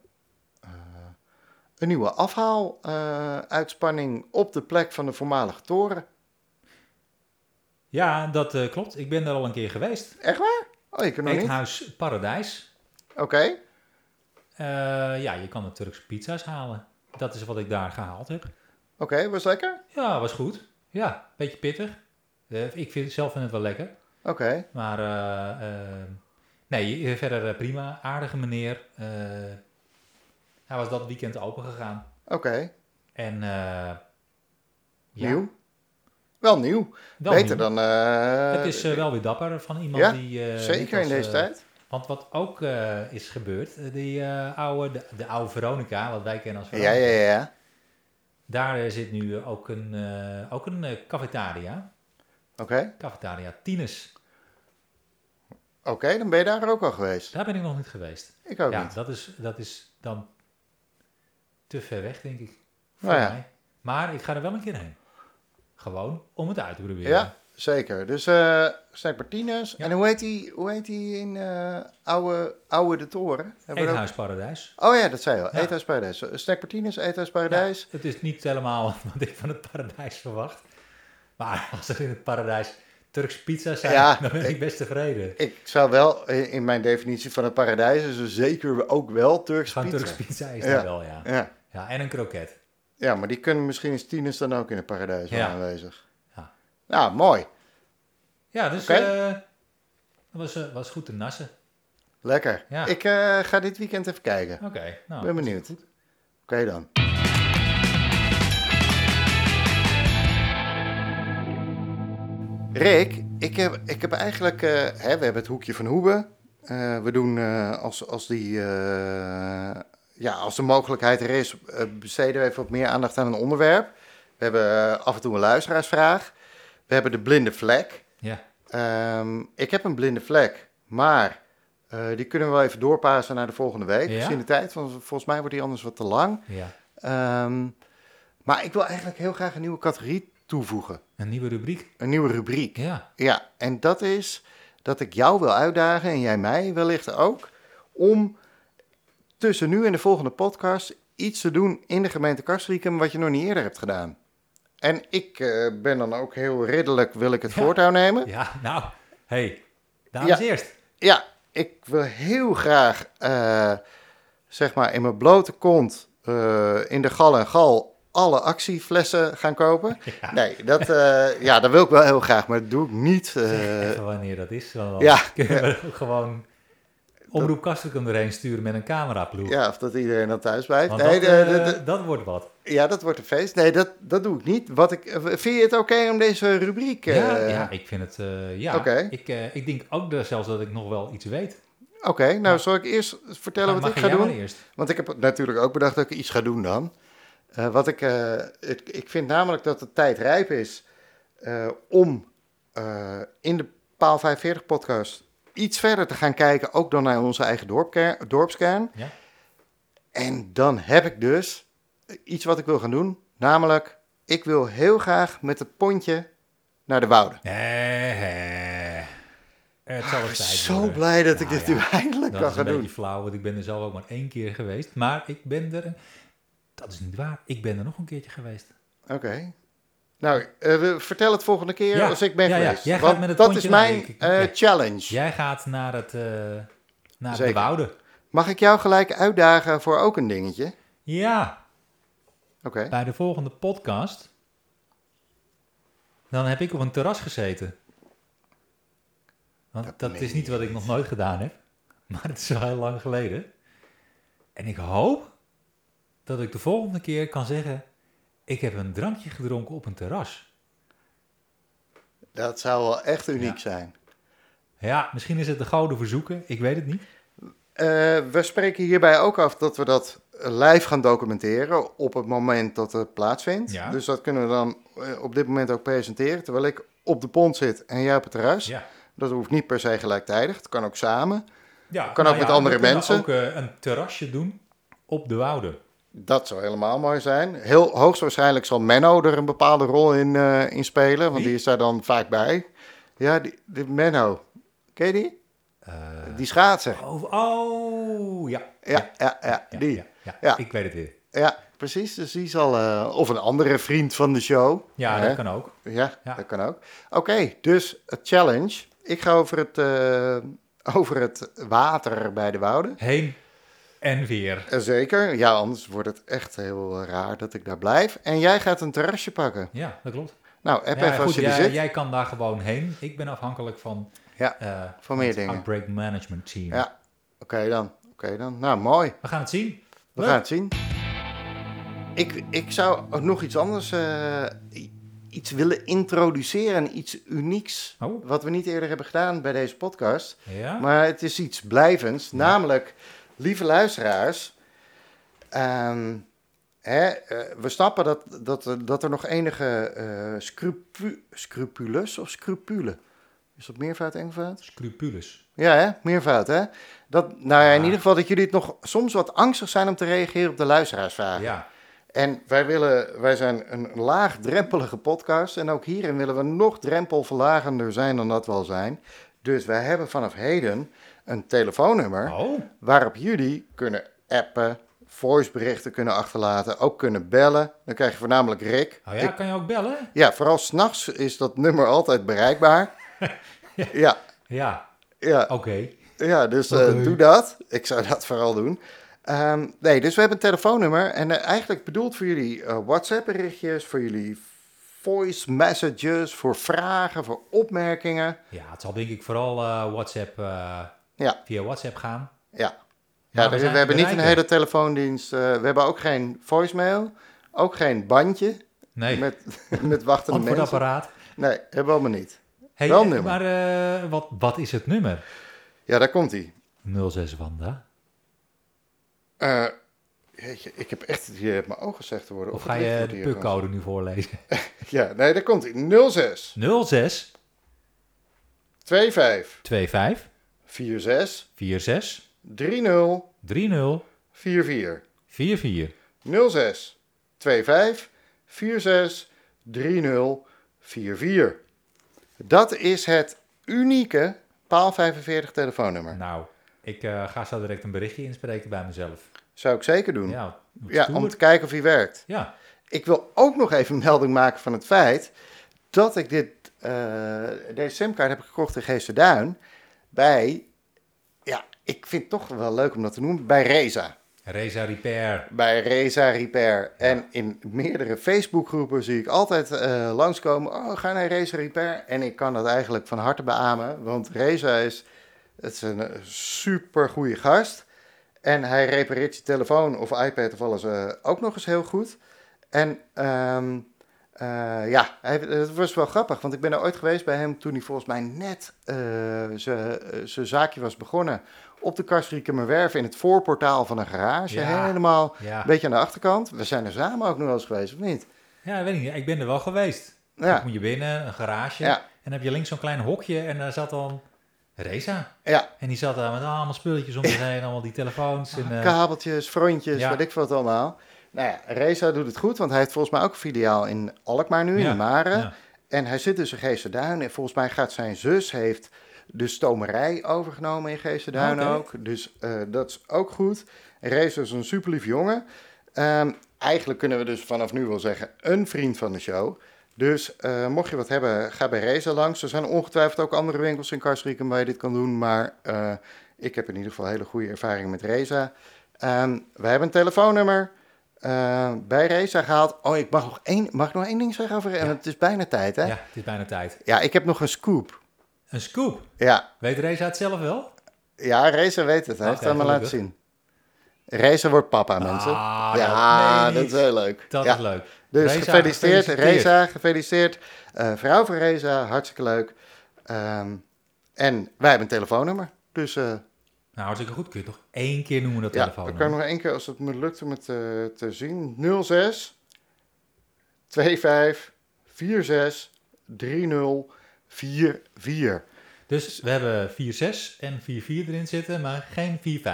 Speaker 3: een nieuwe afhaaluitspanning op de plek van de voormalige toren.
Speaker 2: ja, dat eh, klopt. Ik ben daar al een keer geweest.
Speaker 3: Echt waar? Oh, je kan nog niet?
Speaker 2: Eethuis Paradijs.
Speaker 3: Oké.
Speaker 2: Eh, ja, je kan er Turkse pizza's halen. Dat is wat ik daar gehaald heb.
Speaker 3: Oké, was lekker?
Speaker 2: Ja, was goed. Ja, beetje pittig. Eh, ik vind, zelf vind het wel lekker.
Speaker 3: Oké.
Speaker 2: Maar eh, eh, nee, eh, verder eh, prima. Aardige meneer. Eh, hij was dat weekend open gegaan.
Speaker 3: Oké.
Speaker 2: En eh, ja,
Speaker 3: Nieuw. Wel nieuw.
Speaker 2: wel
Speaker 3: Beter
Speaker 2: nieuw.
Speaker 3: dan... eh,
Speaker 2: het is eh, wel weer dapper van iemand
Speaker 3: Ja,
Speaker 2: die... eh, net
Speaker 3: Zeker
Speaker 2: als,
Speaker 3: in deze
Speaker 2: eh,
Speaker 3: tijd.
Speaker 2: Want wat ook eh, is gebeurd, eh, die eh, oude, de, de oude Veronica, wat wij kennen als
Speaker 3: Ja, ja,
Speaker 2: Veronica.
Speaker 3: ja. ja.
Speaker 2: Daar eh, zit nu eh, ook een, eh, ook een eh, cafetaria.
Speaker 3: Oké.
Speaker 2: Cafetaria Tines.
Speaker 3: Oké, dan ben je daar ook al geweest.
Speaker 2: Daar ben ik nog niet geweest.
Speaker 3: Ik ook
Speaker 2: ja,
Speaker 3: niet.
Speaker 2: Dat, is, dat is dan te ver weg, denk ik. Voor
Speaker 3: Nou ja.
Speaker 2: mij. Maar ik ga er wel een keer heen. Gewoon om het uit te proberen.
Speaker 3: Ja, zeker. Dus eh Snack Martinez.
Speaker 2: Ja.
Speaker 3: En hoe heet die, hoe heet die in eh, oude, oude de Toren? Hebben we dat-
Speaker 2: Eethuisparadijs.
Speaker 3: Oh ja, dat zei je al.
Speaker 2: Ja.
Speaker 3: Eethuis Paradijs. Snack Martinez, Eethuis Paradijs.
Speaker 2: Ja, het is niet helemaal wat ik van het paradijs verwacht. Maar als er in het paradijs Turks pizza's zijn,
Speaker 3: Ja,
Speaker 2: dan ben ik best tevreden.
Speaker 3: Ik zou wel, eh, in mijn definitie van het paradijs, is er zeker ook wel Turks
Speaker 2: Gaan
Speaker 3: pizza.
Speaker 2: Turks pizza is
Speaker 3: Ja.
Speaker 2: daar wel, ja.
Speaker 3: Ja.
Speaker 2: ja. En een kroket.
Speaker 3: Ja, maar die kunnen misschien in tieners dan ook in het paradijs wel
Speaker 2: Ja.
Speaker 3: aanwezig.
Speaker 2: Ja.
Speaker 3: Nou, mooi.
Speaker 2: Ja, dus
Speaker 3: Oké.
Speaker 2: eh, dat was, eh, was goed te nassen.
Speaker 3: Lekker.
Speaker 2: Ja.
Speaker 3: Ik eh, ga dit weekend even kijken.
Speaker 2: Oké, nou.
Speaker 3: ben benieuwd. Oké
Speaker 2: goed.
Speaker 3: dan. Rick, ik heb, ik heb eigenlijk... eh, hè, we hebben het hoekje van Hoebe. Eh, we doen eh, als, als die... eh, ja, als de mogelijkheid er is, eh, besteden we even wat meer aandacht aan een onderwerp. We hebben eh, af en toe een luisteraarsvraag. We hebben de blinde vlek.
Speaker 2: Ja.
Speaker 3: Ehm, ik heb een blinde vlek, maar eh, die kunnen we wel even doorpassen naar de volgende week.
Speaker 2: Ja?
Speaker 3: Gezien de tijd, want volgens mij wordt die anders wat te lang.
Speaker 2: ja.
Speaker 3: Ehm, maar ik wil eigenlijk heel graag een nieuwe categorie toevoegen.
Speaker 2: Een nieuwe rubriek.
Speaker 3: Een nieuwe rubriek.
Speaker 2: Ja.
Speaker 3: Ja, en dat is dat ik jou wil uitdagen, en jij mij wellicht ook, om tussen nu en de volgende podcast iets te doen in de gemeente Kastrikum wat je nog niet eerder hebt gedaan. En ik eh, ben dan ook heel ridderlijk, wil ik het
Speaker 2: Ja.
Speaker 3: voortouw nemen.
Speaker 2: Ja, nou. hey, dames
Speaker 3: Ja.
Speaker 2: eerst.
Speaker 3: Ja, ik wil heel graag, eh, zeg maar, in mijn blote kont, eh, in de gal en gal, alle actieflessen gaan kopen. Nee, dat, eh, ja, dat wil ik wel heel graag, maar dat doe ik niet. eh.
Speaker 2: Even wanneer dat is. Dan
Speaker 3: ja.
Speaker 2: kunnen we ook gewoon omroep Kastrikum erheen sturen met een cameraploeg.
Speaker 3: ja, of dat iedereen dan thuis blijft.
Speaker 2: Want
Speaker 3: Nee,
Speaker 2: dat,
Speaker 3: de-
Speaker 2: eh,
Speaker 3: de- de-
Speaker 2: dat wordt wat.
Speaker 3: ja, dat wordt een feest. Nee, dat, dat doe ik niet. Wat ik, eh, vind je het oké om deze rubriek... eh,
Speaker 2: ja, ja, ik vind het... eh, ja,
Speaker 3: Oké.
Speaker 2: ik, eh, ik denk ook dat- zelfs dat ik nog wel iets weet.
Speaker 3: Oké, nou zal ik eerst vertellen
Speaker 2: Maar
Speaker 3: wat
Speaker 2: mag
Speaker 3: ik ga
Speaker 2: jij
Speaker 3: doen?
Speaker 2: maar eerst?
Speaker 3: Want ik heb natuurlijk ook bedacht dat ik iets ga doen dan. Eh, wat ik, eh, ik, ik vind namelijk dat de tijd rijp is eh, om eh, in de Paal 45 podcast iets verder te gaan kijken, ook dan naar onze eigen dorpker- dorpskern.
Speaker 2: Ja.
Speaker 3: En dan heb ik dus iets wat ik wil gaan doen, namelijk ik wil heel graag met het pontje naar de wouden.
Speaker 2: Nee, hè. Het zal
Speaker 3: Ik
Speaker 2: het
Speaker 3: ben
Speaker 2: tijd
Speaker 3: Ah, zo
Speaker 2: worden.
Speaker 3: blij dat ik
Speaker 2: Nou
Speaker 3: dit
Speaker 2: ja,
Speaker 3: nu eindelijk
Speaker 2: Dat is
Speaker 3: kan
Speaker 2: een
Speaker 3: gaan
Speaker 2: beetje
Speaker 3: doen.
Speaker 2: flauw, want ik ben er zelf ook maar één keer geweest. Maar ik ben er... Dat is niet waar. Ik ben er nog een keertje geweest.
Speaker 3: Oké. Nou, eh, we- vertel het volgende keer
Speaker 2: Ja,
Speaker 3: als ik ben
Speaker 2: ja, ja.
Speaker 3: geweest.
Speaker 2: Jij gaat
Speaker 3: Want
Speaker 2: met het
Speaker 3: dat
Speaker 2: kontje
Speaker 3: is
Speaker 2: naar,
Speaker 3: mijn
Speaker 2: denk ik.
Speaker 3: eh,
Speaker 2: Ja.
Speaker 3: challenge.
Speaker 2: Jij gaat naar het... eh naar de
Speaker 3: Zeker.
Speaker 2: wouden.
Speaker 3: Mag ik jou gelijk uitdagen voor ook een dingetje? Oké.
Speaker 2: Ja, bij de volgende podcast. Dan heb ik op een terras gezeten. Want dat,
Speaker 3: Dat meen
Speaker 2: is niet
Speaker 3: je
Speaker 2: wat ik nog nooit gedaan heb. Maar het is wel heel lang geleden. En ik hoop dat ik de volgende keer kan zeggen: Ik heb een drankje gedronken op een terras.
Speaker 3: Dat zou wel echt uniek zijn.
Speaker 2: Ja, misschien is het de gouden verzoeken. Ik weet het niet.
Speaker 3: Eh, we spreken hierbij ook af dat we dat live gaan documenteren op het moment dat het plaatsvindt.
Speaker 2: Ja.
Speaker 3: Dus dat kunnen we dan eh, op dit moment ook presenteren. Terwijl ik op de pont zit en jij op het terras.
Speaker 2: Ja.
Speaker 3: Dat hoeft niet per se gelijktijdig. Het kan ook samen.
Speaker 2: Ja,
Speaker 3: Kan ook met
Speaker 2: we
Speaker 3: andere
Speaker 2: kunnen
Speaker 3: mensen.
Speaker 2: ook eh, een terrasje doen op de Wouden.
Speaker 3: Dat zou helemaal mooi zijn. Heel hoogstwaarschijnlijk zal Menno er een bepaalde rol in, eh, in spelen. Want
Speaker 2: Wie?
Speaker 3: die is daar dan vaak bij. Ja, die, die Menno. Ken je die?
Speaker 2: Eh,
Speaker 3: Die schaatser.
Speaker 2: oh, oh, ja.
Speaker 3: Ja, ja, ja,
Speaker 2: Ja,
Speaker 3: die.
Speaker 2: ja, ja.
Speaker 3: Ja.
Speaker 2: ik weet het weer.
Speaker 3: Ja, precies. Dus die zal... eh, of een andere vriend van de show.
Speaker 2: Ja,
Speaker 3: Hè?
Speaker 2: dat kan ook.
Speaker 3: Ja,
Speaker 2: Ja.
Speaker 3: dat kan ook. Oké, dus het challenge. Ik ga over het, eh, over het water bij de wouden.
Speaker 2: Heen en weer.
Speaker 3: Eh, Zeker. Ja, anders wordt het echt heel eh, raar dat ik daar blijf. En jij gaat een terrasje pakken.
Speaker 2: Ja, dat klopt.
Speaker 3: Nou, app
Speaker 2: Ja,
Speaker 3: even als je er
Speaker 2: jij,
Speaker 3: zit.
Speaker 2: jij kan daar gewoon heen. Ik ben afhankelijk van,
Speaker 3: Ja,
Speaker 2: eh,
Speaker 3: voor meer
Speaker 2: het
Speaker 3: dingen.
Speaker 2: Outbreak Management Team.
Speaker 3: Ja, oké dan. Oké dan. Nou, mooi.
Speaker 2: We gaan het zien.
Speaker 3: We
Speaker 2: Leuk.
Speaker 3: gaan het zien. Ik, ik zou ook nog iets anders, eh, i- iets willen introduceren, iets unieks.
Speaker 2: Oh,
Speaker 3: Wat we niet eerder hebben gedaan bij deze podcast.
Speaker 2: ja?
Speaker 3: Maar het is iets blijvends. Namelijk, lieve luisteraars. ehm, hè, eh, we snappen dat, dat, er- dat er nog enige eh, scrupu- scrupules of scrupule. Is dat meervoud enkelvoud?
Speaker 2: Scrupules.
Speaker 3: Ja, hè? meervoud, hè? Dat, nou ja, in
Speaker 2: Ja.
Speaker 3: ieder geval dat jullie het nog soms wat angstig zijn om te reageren op de luisteraarsvragen.
Speaker 2: Ja.
Speaker 3: En wij, willen, wij zijn een laagdrempelige podcast. En ook hierin willen we nog drempelverlagender zijn dan dat we al zijn. Dus wij hebben vanaf heden een telefoonnummer
Speaker 2: Oh,
Speaker 3: waarop jullie kunnen appen, voiceberichten kunnen achterlaten, ook kunnen bellen. Dan krijg je voornamelijk Rick.
Speaker 2: oh ja,
Speaker 3: Ik-
Speaker 2: kan je ook bellen?
Speaker 3: ja vooral s'nachts is dat nummer altijd bereikbaar. ja,
Speaker 2: Ja,
Speaker 3: ja.
Speaker 2: oké.
Speaker 3: Ja, dus eh,
Speaker 2: Oké.
Speaker 3: doe dat. Ik zou dat vooral doen. Ehm, nee, dus we hebben een telefoonnummer. En eh, eigenlijk bedoeld voor jullie eh, WhatsApp-berichtjes, voor jullie voice messages, voor vragen, voor opmerkingen.
Speaker 2: Ja, het zal denk ik vooral eh, WhatsApp, eh,
Speaker 3: Ja.
Speaker 2: via WhatsApp gaan.
Speaker 3: Ja,
Speaker 2: Maar
Speaker 3: ja
Speaker 2: Nou, we
Speaker 3: dus we,
Speaker 2: zijn
Speaker 3: hebben niet een
Speaker 2: bereikbaar.
Speaker 3: hele telefoondienst. eh, we hebben ook geen voicemail, ook geen bandje
Speaker 2: Nee,
Speaker 3: met, met wachtende mensen.
Speaker 2: antwoordapparaat.
Speaker 3: Nee, hebben we allemaal niet.
Speaker 2: Hey,
Speaker 3: Wel
Speaker 2: eh,
Speaker 3: nummer.
Speaker 2: Maar eh, wat, wat is het nummer?
Speaker 3: Ja, daar komt hij.
Speaker 2: 06 Wanda.
Speaker 3: Eh, jeetje, ik heb echt het idee dat mijn ogen slecht te worden.
Speaker 2: Of
Speaker 3: het
Speaker 2: ga
Speaker 3: licht
Speaker 2: je
Speaker 3: wordt
Speaker 2: de
Speaker 3: hier eh. gewoon-
Speaker 2: pukcode nu voorlezen?
Speaker 3: Ja, nee, daar komt hij. 06
Speaker 2: 06
Speaker 3: 25
Speaker 2: 25
Speaker 3: 46
Speaker 2: 46
Speaker 3: 30
Speaker 2: 30
Speaker 3: 44
Speaker 2: 44.
Speaker 3: 06 25 46 30 44. Dat is het unieke paal 45 telefoonnummer.
Speaker 2: Nou, ik eh, ga zo direct een berichtje inspreken bij mezelf.
Speaker 3: Zou ik zeker doen. Mm. Ja,
Speaker 2: Ja, wat
Speaker 3: om
Speaker 2: stoer.
Speaker 3: te kijken of hij werkt.
Speaker 2: ja.
Speaker 3: Ik wil ook nog even een melding maken van het feit dat ik dit, eh, deze simkaart heb gekocht in Geesterduin bij, ja, ik vind het toch wel leuk om dat te noemen, bij Reza.
Speaker 2: Reza Repair.
Speaker 3: bij Reza Repair. En in meerdere Facebookgroepen zie ik altijd eh, langskomen. Oh, ga naar Reza Repair. En ik kan dat eigenlijk van harte beamen. Want Reza is, het is een super goede gast. En hij repareert je telefoon of iPad of alles eh, ook nog eens heel goed. En ehm, eh, ja, hij, het was wel grappig. Want ik ben er ooit geweest bij hem toen hij volgens mij net eh, zijn zaakje was begonnen. Op de Kastriekemerwerf in het voorportaal van een garage.
Speaker 2: Ja.
Speaker 3: Helemaal
Speaker 2: Ja.
Speaker 3: een beetje aan de achterkant. We zijn er samen ook nog wel eens geweest, of niet?
Speaker 2: ja, weet ik niet. Ik ben er wel geweest. Dan
Speaker 3: Ja,
Speaker 2: kom je binnen, een garage.
Speaker 3: Ja.
Speaker 2: En dan heb je links zo'n klein hokje en daar zat dan Reza.
Speaker 3: ja.
Speaker 2: En die zat daar met allemaal spulletjes om te heen. Allemaal die telefoons. En, eh,
Speaker 3: kabeltjes, frontjes,
Speaker 2: Ja.
Speaker 3: wat ik wat allemaal. Nou ja, Reza doet het goed, want hij heeft volgens mij ook een filiaal in Alkmaar nu,
Speaker 2: Ja,
Speaker 3: in Mare.
Speaker 2: ja.
Speaker 3: En hij zit dus in Geesterduin. En volgens mij gaat zijn zus, heeft de stomerij overgenomen in Geesterduin
Speaker 2: Oké.
Speaker 3: ook. Dus eh, dat is ook goed. Racer is een superlief jongen. Ehm, eigenlijk kunnen we dus vanaf nu wel zeggen een vriend van de show. Dus eh, mocht je wat hebben, ga bij Racer langs. Er zijn ongetwijfeld ook andere winkels in Karsriken waar je dit kan doen. Maar eh, ik heb in ieder geval hele goede ervaring met Reza. Ehm wij hebben een telefoonnummer eh, bij Reza gehaald. Oh, ik mag nog één, mag ik nog één ding zeggen over En
Speaker 2: Ja.
Speaker 3: Het is bijna tijd, hè?
Speaker 2: Ja,
Speaker 3: Ja.
Speaker 2: het is bijna tijd.
Speaker 3: ik heb nog een scoop.
Speaker 2: Een scoop.
Speaker 3: Ja,
Speaker 2: Weet Reza het zelf wel?
Speaker 3: ja Reza weet het.
Speaker 2: Oké,
Speaker 3: Hij heeft het aan me laten zien. Reza wordt papa, mensen.
Speaker 2: Ah,
Speaker 3: ja,
Speaker 2: dat meen je
Speaker 3: dat
Speaker 2: niet.
Speaker 3: is heel leuk.
Speaker 2: Dat
Speaker 3: ja.
Speaker 2: is leuk.
Speaker 3: Dus
Speaker 2: Reza,
Speaker 3: gefeliciteerd,
Speaker 2: gefeliciteerd.
Speaker 3: Reza, gefeliciteerd. Eh, vrouw van Reza, hartstikke leuk. Ehm, en wij hebben een telefoonnummer. Dus eh,
Speaker 2: Nou, hartstikke goed. Kun je het nog één keer noemen dat
Speaker 3: Ja,
Speaker 2: telefoon?
Speaker 3: ik kan nog één keer, als het me lukt om het eh, te zien. 06 25 46 30 44.
Speaker 2: Dus we hebben 4-6 en 4-4 erin zitten, maar geen 4-5.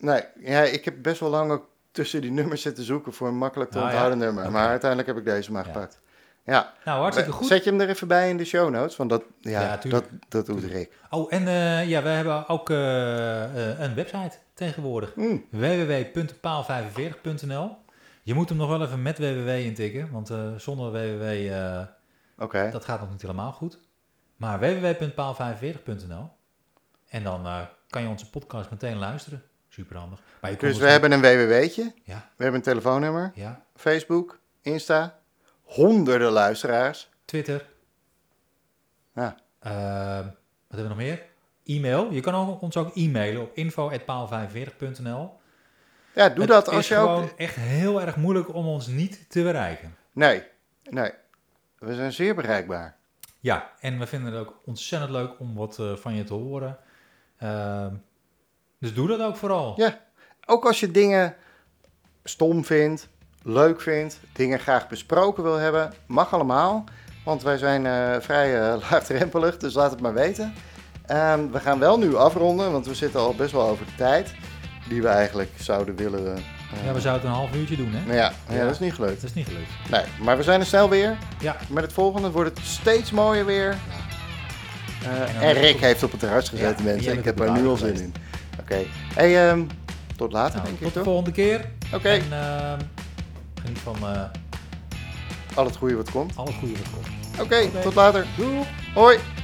Speaker 3: Nee, ja, ik heb best wel lang ook tussen die nummers zitten zoeken voor een makkelijk te
Speaker 2: Ah, ja.
Speaker 3: onthouden nummer.
Speaker 2: Oké.
Speaker 3: Maar uiteindelijk heb ik deze maar
Speaker 2: Ja.
Speaker 3: gepakt. Ja,
Speaker 2: Nou, hartstikke goed.
Speaker 3: zet je hem er even bij in de show notes, want dat, ja,
Speaker 2: Ja,
Speaker 3: dat,
Speaker 2: tuurlijk.
Speaker 3: dat doet Rick.
Speaker 2: Oh, en eh, ja, we hebben ook eh, eh, een website tegenwoordig.
Speaker 3: Mm.
Speaker 2: www.paal45.nl Je moet hem nog wel even met www intikken, want eh, zonder www, eh,
Speaker 3: Oké,
Speaker 2: dat gaat nog niet helemaal goed. Maar www.paal45.nl En dan eh, kan je onze podcast meteen luisteren. Superhandig. Maar je kon
Speaker 3: dus we
Speaker 2: ons-
Speaker 3: hebben een www'tje,
Speaker 2: Ja,
Speaker 3: we hebben een telefoonnummer,
Speaker 2: ja.
Speaker 3: Facebook, Insta, honderden luisteraars.
Speaker 2: Twitter.
Speaker 3: Ja.
Speaker 2: Ehm, wat hebben we nog meer? E-mail. Je kan ook, ons ook e-mailen op info.paal45.nl.
Speaker 3: Ja, doe
Speaker 2: Het
Speaker 3: dat als
Speaker 2: is
Speaker 3: je
Speaker 2: gewoon
Speaker 3: ook...
Speaker 2: echt heel erg moeilijk om ons niet te bereiken.
Speaker 3: Nee, nee. We zijn zeer bereikbaar.
Speaker 2: Ja, en we vinden het ook ontzettend leuk om wat eh, van je te horen. Ehm, dus doe dat ook vooral.
Speaker 3: Ja. Ook als je dingen stom vindt, leuk vindt, dingen graag besproken wil hebben, mag allemaal. Want wij zijn eh, vrij eh, laagdrempelig, dus laat het maar weten. Ehm, we gaan wel nu afronden, want we zitten al best wel over de tijd die we eigenlijk zouden willen. eh,
Speaker 2: Ja, we zouden het een half uurtje doen, hè?
Speaker 3: maar ja, ja,
Speaker 2: Ja.
Speaker 3: dat is niet gelukt.
Speaker 2: Dat is niet gelukt.
Speaker 3: Nee, maar we zijn er snel weer.
Speaker 2: Ja.
Speaker 3: Met het volgende wordt het steeds mooier weer. Eh,
Speaker 2: En dan
Speaker 3: en
Speaker 2: weer
Speaker 3: Rick
Speaker 2: goed.
Speaker 3: heeft op het terras gezeten,
Speaker 2: Ja, jij
Speaker 3: mensen. Ik
Speaker 2: bent
Speaker 3: heb
Speaker 2: op
Speaker 3: er nu
Speaker 2: de
Speaker 3: al
Speaker 2: baan
Speaker 3: zin in.
Speaker 2: geweest.
Speaker 3: Oké. Hey, ehm, tot later,
Speaker 2: Nou,
Speaker 3: denk ik,
Speaker 2: tot de
Speaker 3: toch?
Speaker 2: volgende keer.
Speaker 3: Oké,
Speaker 2: En ehm, geniet van eh,
Speaker 3: al het goede wat komt.
Speaker 2: al het goede wat komt.
Speaker 3: Oké,
Speaker 2: Oké.
Speaker 3: tot later.
Speaker 2: Doei!
Speaker 3: Hoi.